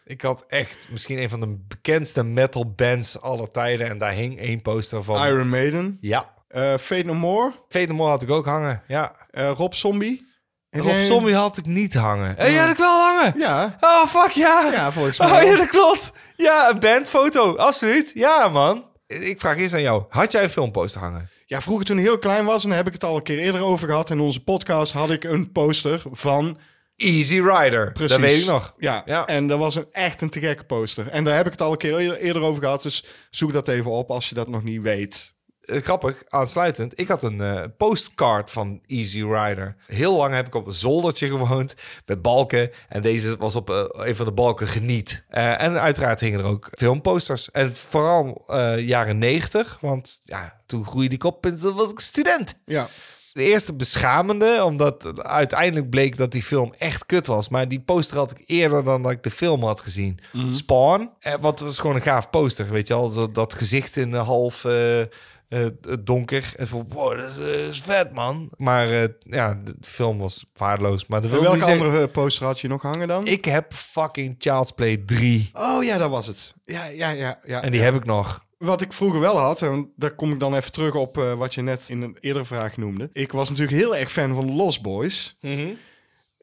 Ik had echt misschien een van de bekendste metal bands aller tijden. En daar hing één poster van. Iron Maiden. Ja. Eh Fate No More. Fate No More had ik ook hangen. Ja. Eh, Rob Zombie. Heb Rob jij- Zombie had ik niet hangen. Hé, jij had ik wel hangen. Ja. Oh, fuck ja. Ja, volgens mij Oh wel. ja, dat klopt. Ja, een bandfoto. Absoluut. Ja, man. Ik vraag eerst aan jou. Had jij een filmposter hangen? Ja, vroeger toen ik heel klein was, en daar heb ik het al een keer eerder over gehad in onze podcast, had ik een poster van... Easy Rider. Precies. Dat weet ik nog. Ja, Ja. en dat was een, echt een te gekke poster. En daar heb ik het al een keer eerder- eerder over gehad, dus zoek dat even op als je dat nog niet weet. Eh, grappig, aansluitend. Ik had een eh, postcard van Easy Rider. Heel lang heb ik op een zoldertje gewoond met balken. En deze was op eh, een van de balken geniet. Eh, en uiteraard hingen er ook filmposters. En vooral eh, jaren negentig, want ja, toen groeide ik op en toen was ik student. Ja. De eerste beschamende, omdat uiteindelijk bleek dat die film echt kut was. Maar die poster had ik eerder dan dat ik de film had gezien. Mhm. Spawn, eh, wat was gewoon een gaaf poster, weet je wel. Dat, dat gezicht in de half eh, eh, het donker. En van, wow, dat is, eh, is vet, man. Maar eh, ja, de, de film was waardeloos. Maar de En wil welke niet zeggen- andere eh, poster had je nog hangen dan? Ik heb fucking Child's Play 3. Oh ja, dat was het. Ja, ja, ja. ja. En die heb ik nog. Wat ik vroeger wel had, en daar kom ik dan even terug op eh, wat je net in een eerdere vraag noemde. Ik was natuurlijk heel erg fan van Lost Boys. Mhm.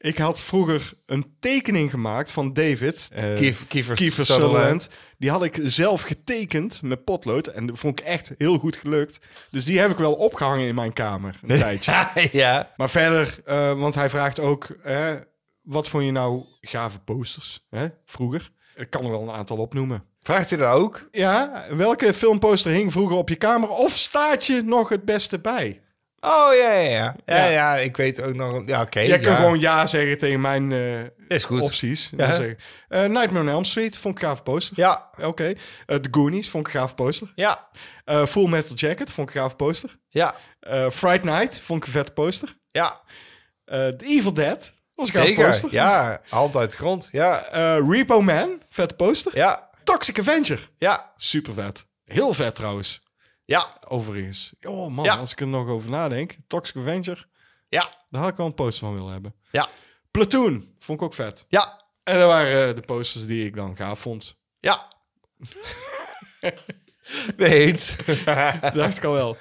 Ik had vroeger een tekening gemaakt van David. eh, Kief- Kiefer Kiefer Sutherland. Sutherland. Die had ik zelf getekend met potlood. En dat vond ik echt heel goed gelukt. Dus die heb ik wel opgehangen in mijn kamer een tijdje. ja. Maar verder, eh, want hij vraagt ook... eh, wat vond je nou gave posters hè, vroeger? Ik kan er wel een aantal opnoemen. Vraagt hij dat ook? Ja, welke filmposter hing vroeger op je kamer? Of staat je nog het beste bij? Oh, ja, ja, ja. Ja, Ja. ja, ik weet ook nog... Ja, oké. Jij kan ja. gewoon ja zeggen tegen mijn eh, Is goed. opties. Ja. Eh Nightmare on Elm Street vond ik gaaf poster. Ja, Oké. Eh, The Goonies vond ik gaaf poster. ja, Eh, Full Metal Jacket vond ik gaaf poster. ja, Eh Fright Night vond ik een vet poster. ja. Eh The Evil Dead was een gaaf Zeker, poster. ja. Hand uit de grond, ja. Eh, Repo Man, vette poster. Ja, Toxic Avenger, ja, super vet. Heel vet trouwens, ja, overigens. Oh man, Ja. als ik er nog over nadenk. Toxic Avenger, ja, daar had ik wel een poster van willen hebben. ja, Platoon, vond ik ook vet. ja, En dat waren eh, de posters die ik dan gaaf vond. ja. Mee eens. Dat dacht ik al wel.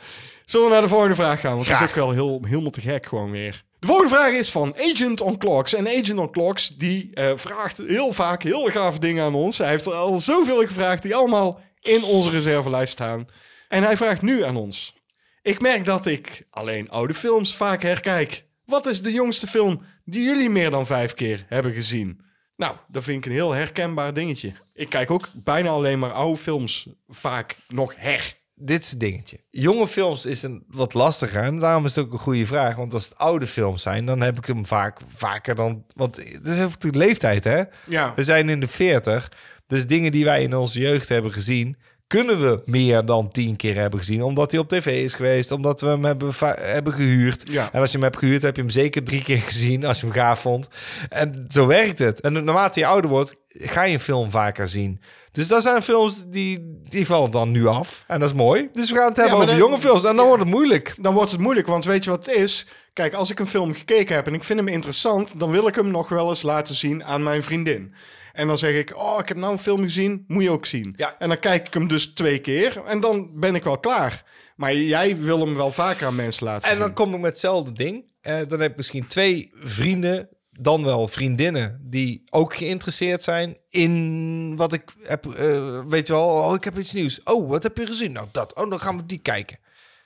Zullen we naar de volgende vraag gaan? Want het Graag. is ook wel heel, helemaal te gek gewoon weer. De volgende vraag is van Agent on Clocks. En Agent on Clocks die eh, vraagt heel vaak heel gave dingen aan ons. Hij heeft er al zoveel gevraagd die allemaal in onze reservelijst staan. En hij vraagt nu aan ons. Ik merk dat ik alleen oude films vaak herkijk. Wat is de jongste film die jullie meer dan vijf keer hebben gezien? Nou, dat vind ik een heel herkenbaar dingetje. Ik kijk ook bijna alleen maar oude films vaak nog her. Dit is het dingetje. Jonge films is een wat lastiger. En daarom is het ook een goede vraag. Want als het oude films zijn, dan heb ik hem vaak vaker dan... Want het is even de leeftijd, hè? Ja. We zijn in de 40. Dus dingen die wij in onze jeugd hebben gezien, kunnen we meer dan tien keer hebben gezien. Omdat hij op tv is geweest, omdat we hem hebben, va- hebben gehuurd. Ja. En als je hem hebt gehuurd, heb je hem zeker drie keer gezien als je hem gaaf vond. En zo werkt het. En naarmate je ouder wordt, ga je een film vaker zien. Dus dat zijn films die, die vallen dan nu af. En dat is mooi. Dus we gaan het hebben maar over dan- jonge films. En dan wordt het moeilijk. dan wordt het moeilijk. Want weet je wat het is? Kijk, als ik een film gekeken heb en ik vind hem interessant, dan wil ik hem nog wel eens laten zien aan mijn vriendin. En dan zeg ik, oh, ik heb nou een film gezien, moet je ook zien. Ja. En dan kijk ik hem dus twee keer en dan ben ik wel klaar. Maar jij wil hem wel vaker aan mensen laten En dan zien. kom ik met hetzelfde ding. Eh, dan heb ik misschien twee vrienden, dan wel vriendinnen, die ook geïnteresseerd zijn in wat ik heb. eh, weet je wel, oh, ik heb iets nieuws. Oh, wat heb je gezien? Nou, dat. Oh, dan gaan we die kijken.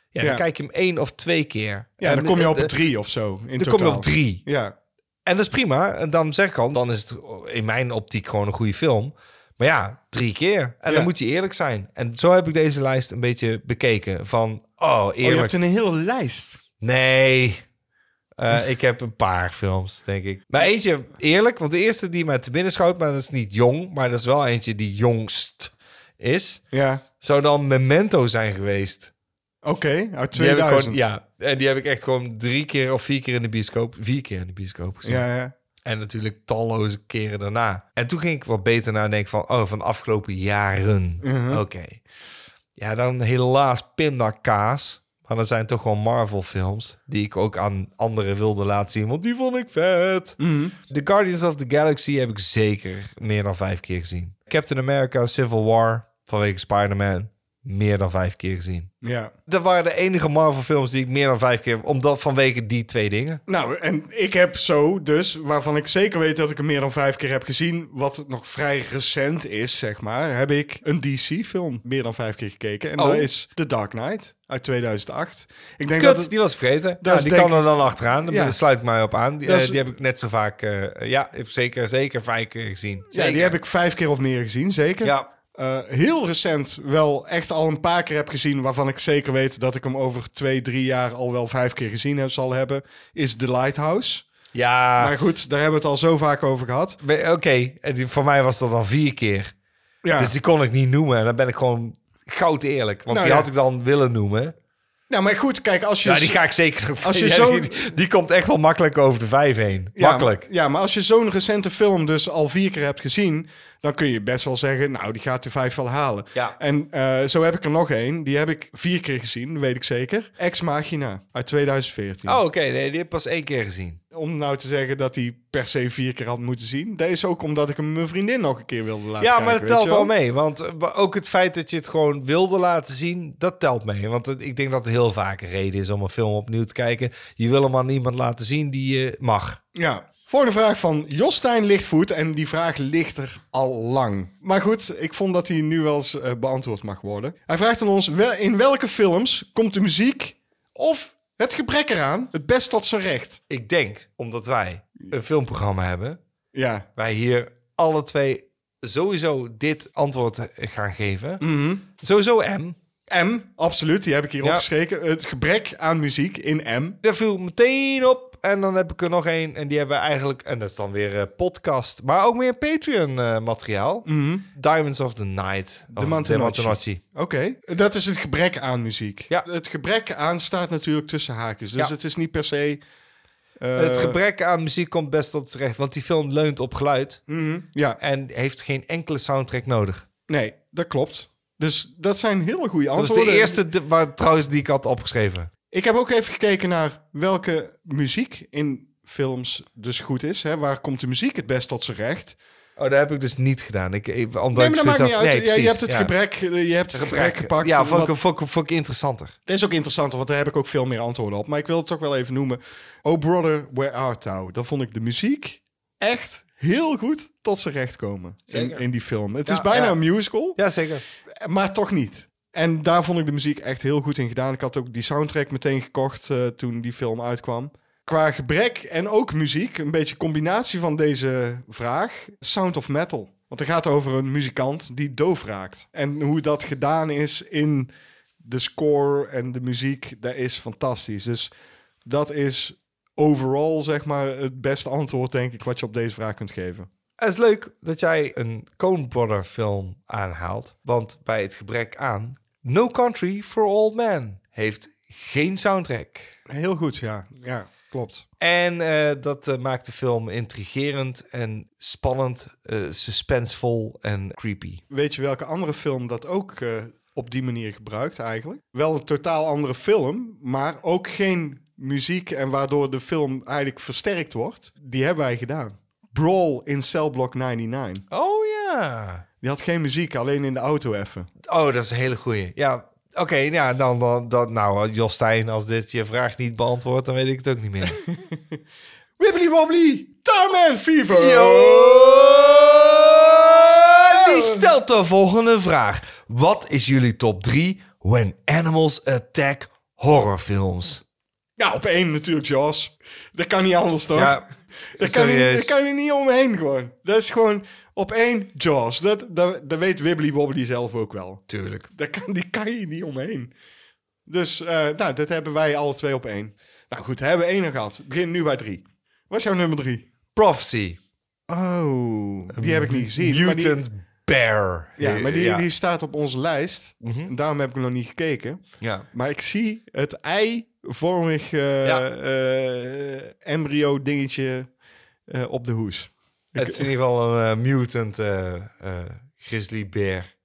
Ja, Ja. dan kijk je hem één of twee keer. Ja, dan En, kom je eh, op eh, een drie of zo. Dan In kom je totaal. op drie. Oh, Ja. En dat is prima. En dan zeg ik al, dan is het in mijn optiek gewoon een goede film. Maar ja, drie keer. En Ja. dan moet je eerlijk zijn. En zo heb ik deze lijst een beetje bekeken. Van, oh, Oh, je eerlijk. hebt een hele lijst. Nee. Eh, ik heb een paar films, denk ik. Maar eentje, eerlijk, want de eerste die mij te binnen schoot, maar dat is niet jong, maar dat is wel eentje die jongst is, Ja. zou dan Memento zijn geweest. Oké, uit Die heb ik 2000. gewoon, ja, en die heb ik echt gewoon drie keer of vier keer in de bioscoop, vier keer in de bioscoop gezien. Ja, ja. En natuurlijk talloze keren daarna. En toen ging ik wat beter nadenken van, oh, van de afgelopen jaren. Mhm. Oké. Ja, dan helaas pindakaas. Maar dat zijn toch gewoon Marvel films die ik ook aan anderen wilde laten zien, want die vond ik vet. Mhm. The Guardians of the Galaxy heb ik zeker meer dan vijf keer gezien. Captain America Civil War vanwege Spider-Man meer dan vijf keer gezien. ja. Dat waren de enige Marvel films die ik meer dan vijf keer, omdat vanwege die twee dingen. Nou, en ik heb zo dus, waarvan ik zeker weet dat ik hem meer dan vijf keer heb gezien, wat nog vrij recent is, zeg maar, heb ik een DC-film meer dan vijf keer gekeken. En Oh. dat is The Dark Knight uit 2008. Ik denk dat Kut, het- die was ik vergeten. Dat Ja, is die denk- kan er dan achteraan. Daar Ja. sluit ik mij op aan. Die, Dat eh, is- die heb ik net zo vaak. eh, ja, heb zeker, zeker vijf keer gezien. ja, die heb ik vijf keer of meer gezien, zeker. Ja. Eh, heel recent wel echt al een paar keer heb gezien, waarvan ik zeker weet dat ik hem over twee, drie jaar al wel vijf keer gezien heb, zal hebben, is The Lighthouse. Ja, Maar goed, daar hebben we het al zo vaak over gehad. we- oké. En die- Voor mij was dat dan vier keer. Ja. Dus die kon ik niet noemen. En dan ben ik gewoon goud eerlijk. Want Nou, die ja. had ik dan willen noemen. Nou, maar goed, kijk, als je... Ja, die ga ik zeker nog Als je ja, zo- die, die komt echt wel makkelijk over de vijf heen. makkelijk. maar- Ja, maar als je zo'n recente film dus al vier keer hebt gezien, dan kun je best wel zeggen, nou, die gaat de vijf wel halen. Ja. En eh, zo heb ik er nog één. Die heb ik vier keer gezien, dat weet ik zeker. Ex Machina uit 2014. Oh, oké. Nee, die heb ik pas één keer gezien. Om nou te zeggen dat hij per se vier keer had moeten zien. Dat is ook omdat ik hem mijn vriendin nog een keer wilde laten Ja, kijken, maar dat weet telt je wel. wel mee. Want eh, maar ook het feit dat je het gewoon wilde laten zien, dat telt mee. Want het- ik denk dat er heel vaak een reden is om een film opnieuw te kijken. Je wil hem aan iemand laten zien die je mag. Ja. Volgende vraag van Jostijn Lichtvoet. En die vraag ligt er al lang. Maar goed, ik vond dat die nu wel eens eh, beantwoord mag worden. Hij vraagt aan ons, wel, in welke films komt de muziek of het gebrek eraan het best tot zijn recht? Ik denk, omdat wij een filmprogramma hebben, Ja. wij hier alle twee sowieso dit antwoord eh, gaan geven. Mhm. Sowieso M. M, absoluut, die heb ik hier Ja. opgeschreven. Het gebrek aan muziek in M. Daar viel meteen op. En dan heb ik er nog één. En die hebben we eigenlijk. En dat is dan weer eh, podcast. Maar ook meer Patreon-materiaal. Mhm. Diamonds of the Night. Oh, Of Martinozzi. Martinozzi. Oké, dat is het gebrek aan muziek. Ja. Het gebrek aan staat natuurlijk tussen haakjes. Dus Ja. het is niet per se Eh, het gebrek aan muziek komt best tot terecht, want die film leunt op geluid mhm, ja, en heeft geen enkele soundtrack nodig. nee, dat klopt. Dus dat zijn hele goede Dat was antwoorden. de eerste de- waar, trouwens die ik had opgeschreven. Ik heb ook even gekeken naar welke muziek in films dus goed is. Hè? Waar komt de muziek het best tot zijn recht? Oh, dat heb ik dus niet gedaan. Ik, ik, omdat Nee, ik maar dat zoiets maakt niet had- uit. nee, Ja, je precies, hebt het ja. gebrek, eh, je hebt het gebrek gepakt. Ja, vond Wat- ik, vond, ik- vond ik interessanter. Dat is ook interessant, want daar heb ik ook veel meer antwoorden op. Maar ik wil het toch wel even noemen. Oh Brother, Where Art Thou? Dan vond ik de muziek echt heel goed tot zijn recht komen in, Zeker. in die film. Het Ja, is bijna ja. een musical, Jazeker. maar toch niet. En daar vond ik de muziek echt heel goed in gedaan. Ik had ook die soundtrack meteen gekocht eh, toen die film uitkwam. Qua gebrek en ook muziek, een beetje combinatie van deze vraag, Sound of Metal. Want het gaat over een muzikant die doof raakt. En hoe dat gedaan is in de score en de muziek, dat is fantastisch. Dus dat is overal zeg maar het beste antwoord denk ik wat je op deze vraag kunt geven. Het is leuk dat jij een Coen Brother film aanhaalt. Want bij het gebrek aan... No Country for Old Men heeft geen soundtrack. Heel goed, ja. Ja, klopt. En eh, dat eh, maakt de film intrigerend en spannend, eh, suspensevol en creepy. Weet je welke andere film dat ook eh, op die manier gebruikt eigenlijk? Wel een totaal andere film, maar ook geen muziek en waardoor de film eigenlijk versterkt wordt. Die hebben wij gedaan. Brawl in Cell Block 99. Oh ja. Die had geen muziek, alleen in de auto even. Oh, dat is een hele goeie. Ja, oké. ja, dan, dan, dan, nou, Jostijn, als dit je vraag niet beantwoordt, dan weet ik het ook niet meer. Wibbly wobbly, Tarman Fever! Die stelt de volgende vraag. Wat is jullie top 3 when animals attack horrorfilms? Ja, op één natuurlijk, Jaws. Dat kan niet anders, toch? Ja, Daar kan, je, daar serieus. kan je niet omheen gewoon. Dat is gewoon op één Jaws. Dat, dat, dat weet Wibbly Wobbly zelf ook wel. Tuurlijk. Daar kan, die kan je niet omheen. Dus eh, nou, dat hebben wij alle twee op één. Nou goed, hebben we één al gehad. Begin nu bij drie. Wat is jouw nummer drie? Prophecy. Oh, die heb ik niet gezien. maar die- Mutant Bear. ja, maar die, die staat op onze lijst. En Daarom heb ik nog niet gekeken. Ja. Maar ik zie het ei-vormig eh, Ja. eh, embryo-dingetje eh, op de hoes. Het is in ieder geval een eh, mutant eh eh grizzlybeer.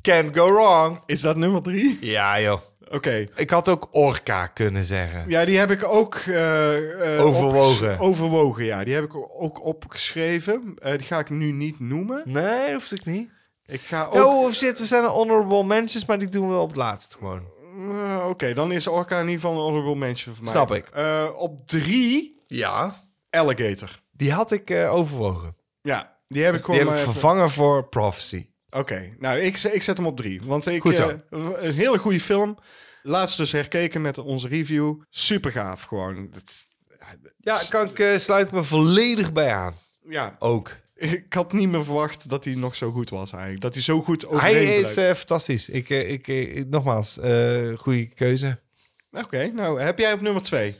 Can't go wrong. Is dat nummer drie? Ja, joh. Oké. Ik had ook orca kunnen zeggen. Ja, die heb ik ook... eh, eh, Overwogen. opges- Overwogen, ja. Die heb ik ook opgeschreven. Eh, die ga ik nu niet noemen. Nee, dat hoeft ik niet. Ik ga ook... Oh, of shit, we zijn een honorable mentions, maar die doen we op het laatst gewoon. Eh, Oké, dan is Orca in ieder geval een honorable mention voor mij. Snap ik. Eh, op drie, Ja. Alligator. Die had ik eh, overwogen. Ja, die heb ik Die gewoon heb ik maar even- vervangen voor Prophecy. Oké, nou, ik, z- ik zet hem op drie. Want ik, Goed zo. eh, een hele goede film. Laatst dus herkeken met onze review. Super gaaf gewoon. Het- Ja, kan ik, eh, sluit me volledig bij aan. ja, Ook. ik had niet meer verwacht dat hij nog zo goed was eigenlijk. Dat hij zo goed overeen Hij is bleef. eh, fantastisch. Ik, eh, ik, eh, nogmaals, eh, goede keuze. Oké, nou, heb jij op nummer twee?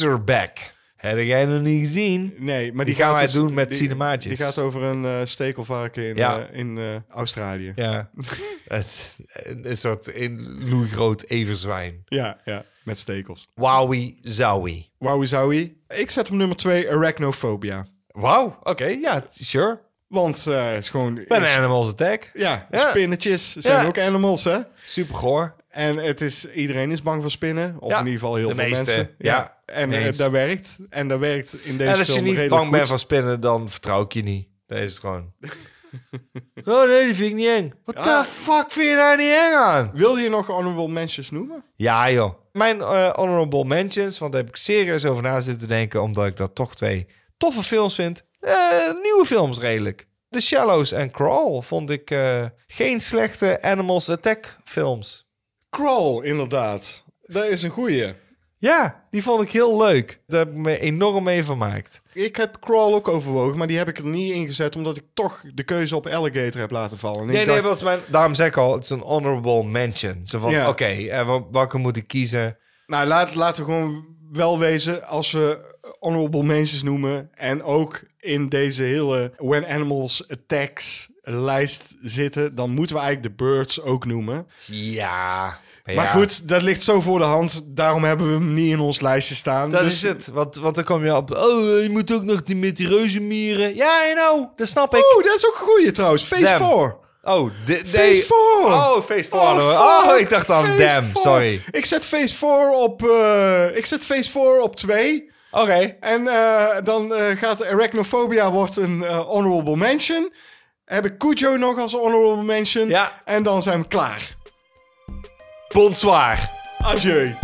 Razorback. Heb jij nog niet gezien? Nee, maar die, gaan gaat wij dus- doen met die- cinemaatjes. Die gaat over een eh stekelvarken in, Ja. eh, in eh, Australië. Ja. Het is een een soort in Louis Groot everzwijn. Ja, ja, met stekels. Wowie zowie. Wowie zowie. Ik zet op nummer 2 Arachnophobia. Wauw, oké, ja, sure. Want eh, het is gewoon... Bij is- een Animals Attack. ja, Ja. spinnetjes zijn Ja. ook animals, hè? Super goor. En het is, iedereen is bang voor spinnen. Of Ja, in ieder geval heel de veel meeste, mensen. ja, En mee eh, eens. dat werkt. En dat werkt in deze En als film je niet redelijk bang bent goed. van spinnen, dan vertrouw ik je niet. Dat is het gewoon. oh nee, die vind ik niet eng. What Ja. the fuck vind je daar niet eng aan? Wil je nog honorable mentions noemen? Ja joh. Mijn eh, honorable mentions, want daar heb ik serieus over na zitten denken, omdat ik dat toch twee toffe films vind. Eh, nieuwe films redelijk. The Shallows en Crawl vond ik eh, geen slechte Animals Attack films. Crawl, inderdaad. Dat is een goeie. Ja, die vond ik heel leuk. Daar heb ik me enorm mee vermaakt. Ik heb Crawl ook overwogen, maar die heb ik er niet ingezet... omdat ik toch de keuze op Alligator heb laten vallen. En ik Nee, dacht, nee, was mijn, daarom zeg ik al, het is een honorable mention. Zo van, Ja. oké, eh, wel- welke moet ik kiezen? Nou, laat, laten we gewoon wel wezen. Als we honorable mentions noemen. En ook in deze hele When Animals Attacks lijst zitten. Dan moeten we eigenlijk de birds ook noemen. Ja. Maar goed, dat ligt zo voor de hand. Daarom hebben we hem niet in ons lijstje staan. Dat Dus is het. Want, want dan kom je op. Oh, eh, je moet ook nog die, met die reuzenmieren. Ja, I know. Dat snap ik. Oh, dat is ook een goeie trouwens. Phase Damn. 4. Oh, de, de- Phase 4. Oh, face 4. Oh, fuck. ik dacht aan Phase damn. 4. Sorry. Ik zet phase 4 op... eh, ik zet phase 4 op 2. Oké. En eh, dan eh, gaat Arachnophobia wordt een eh, honorable mention. Heb ik Cujo nog als honorable mention. Ja. En dan zijn we klaar. Bonsoir. Adieu.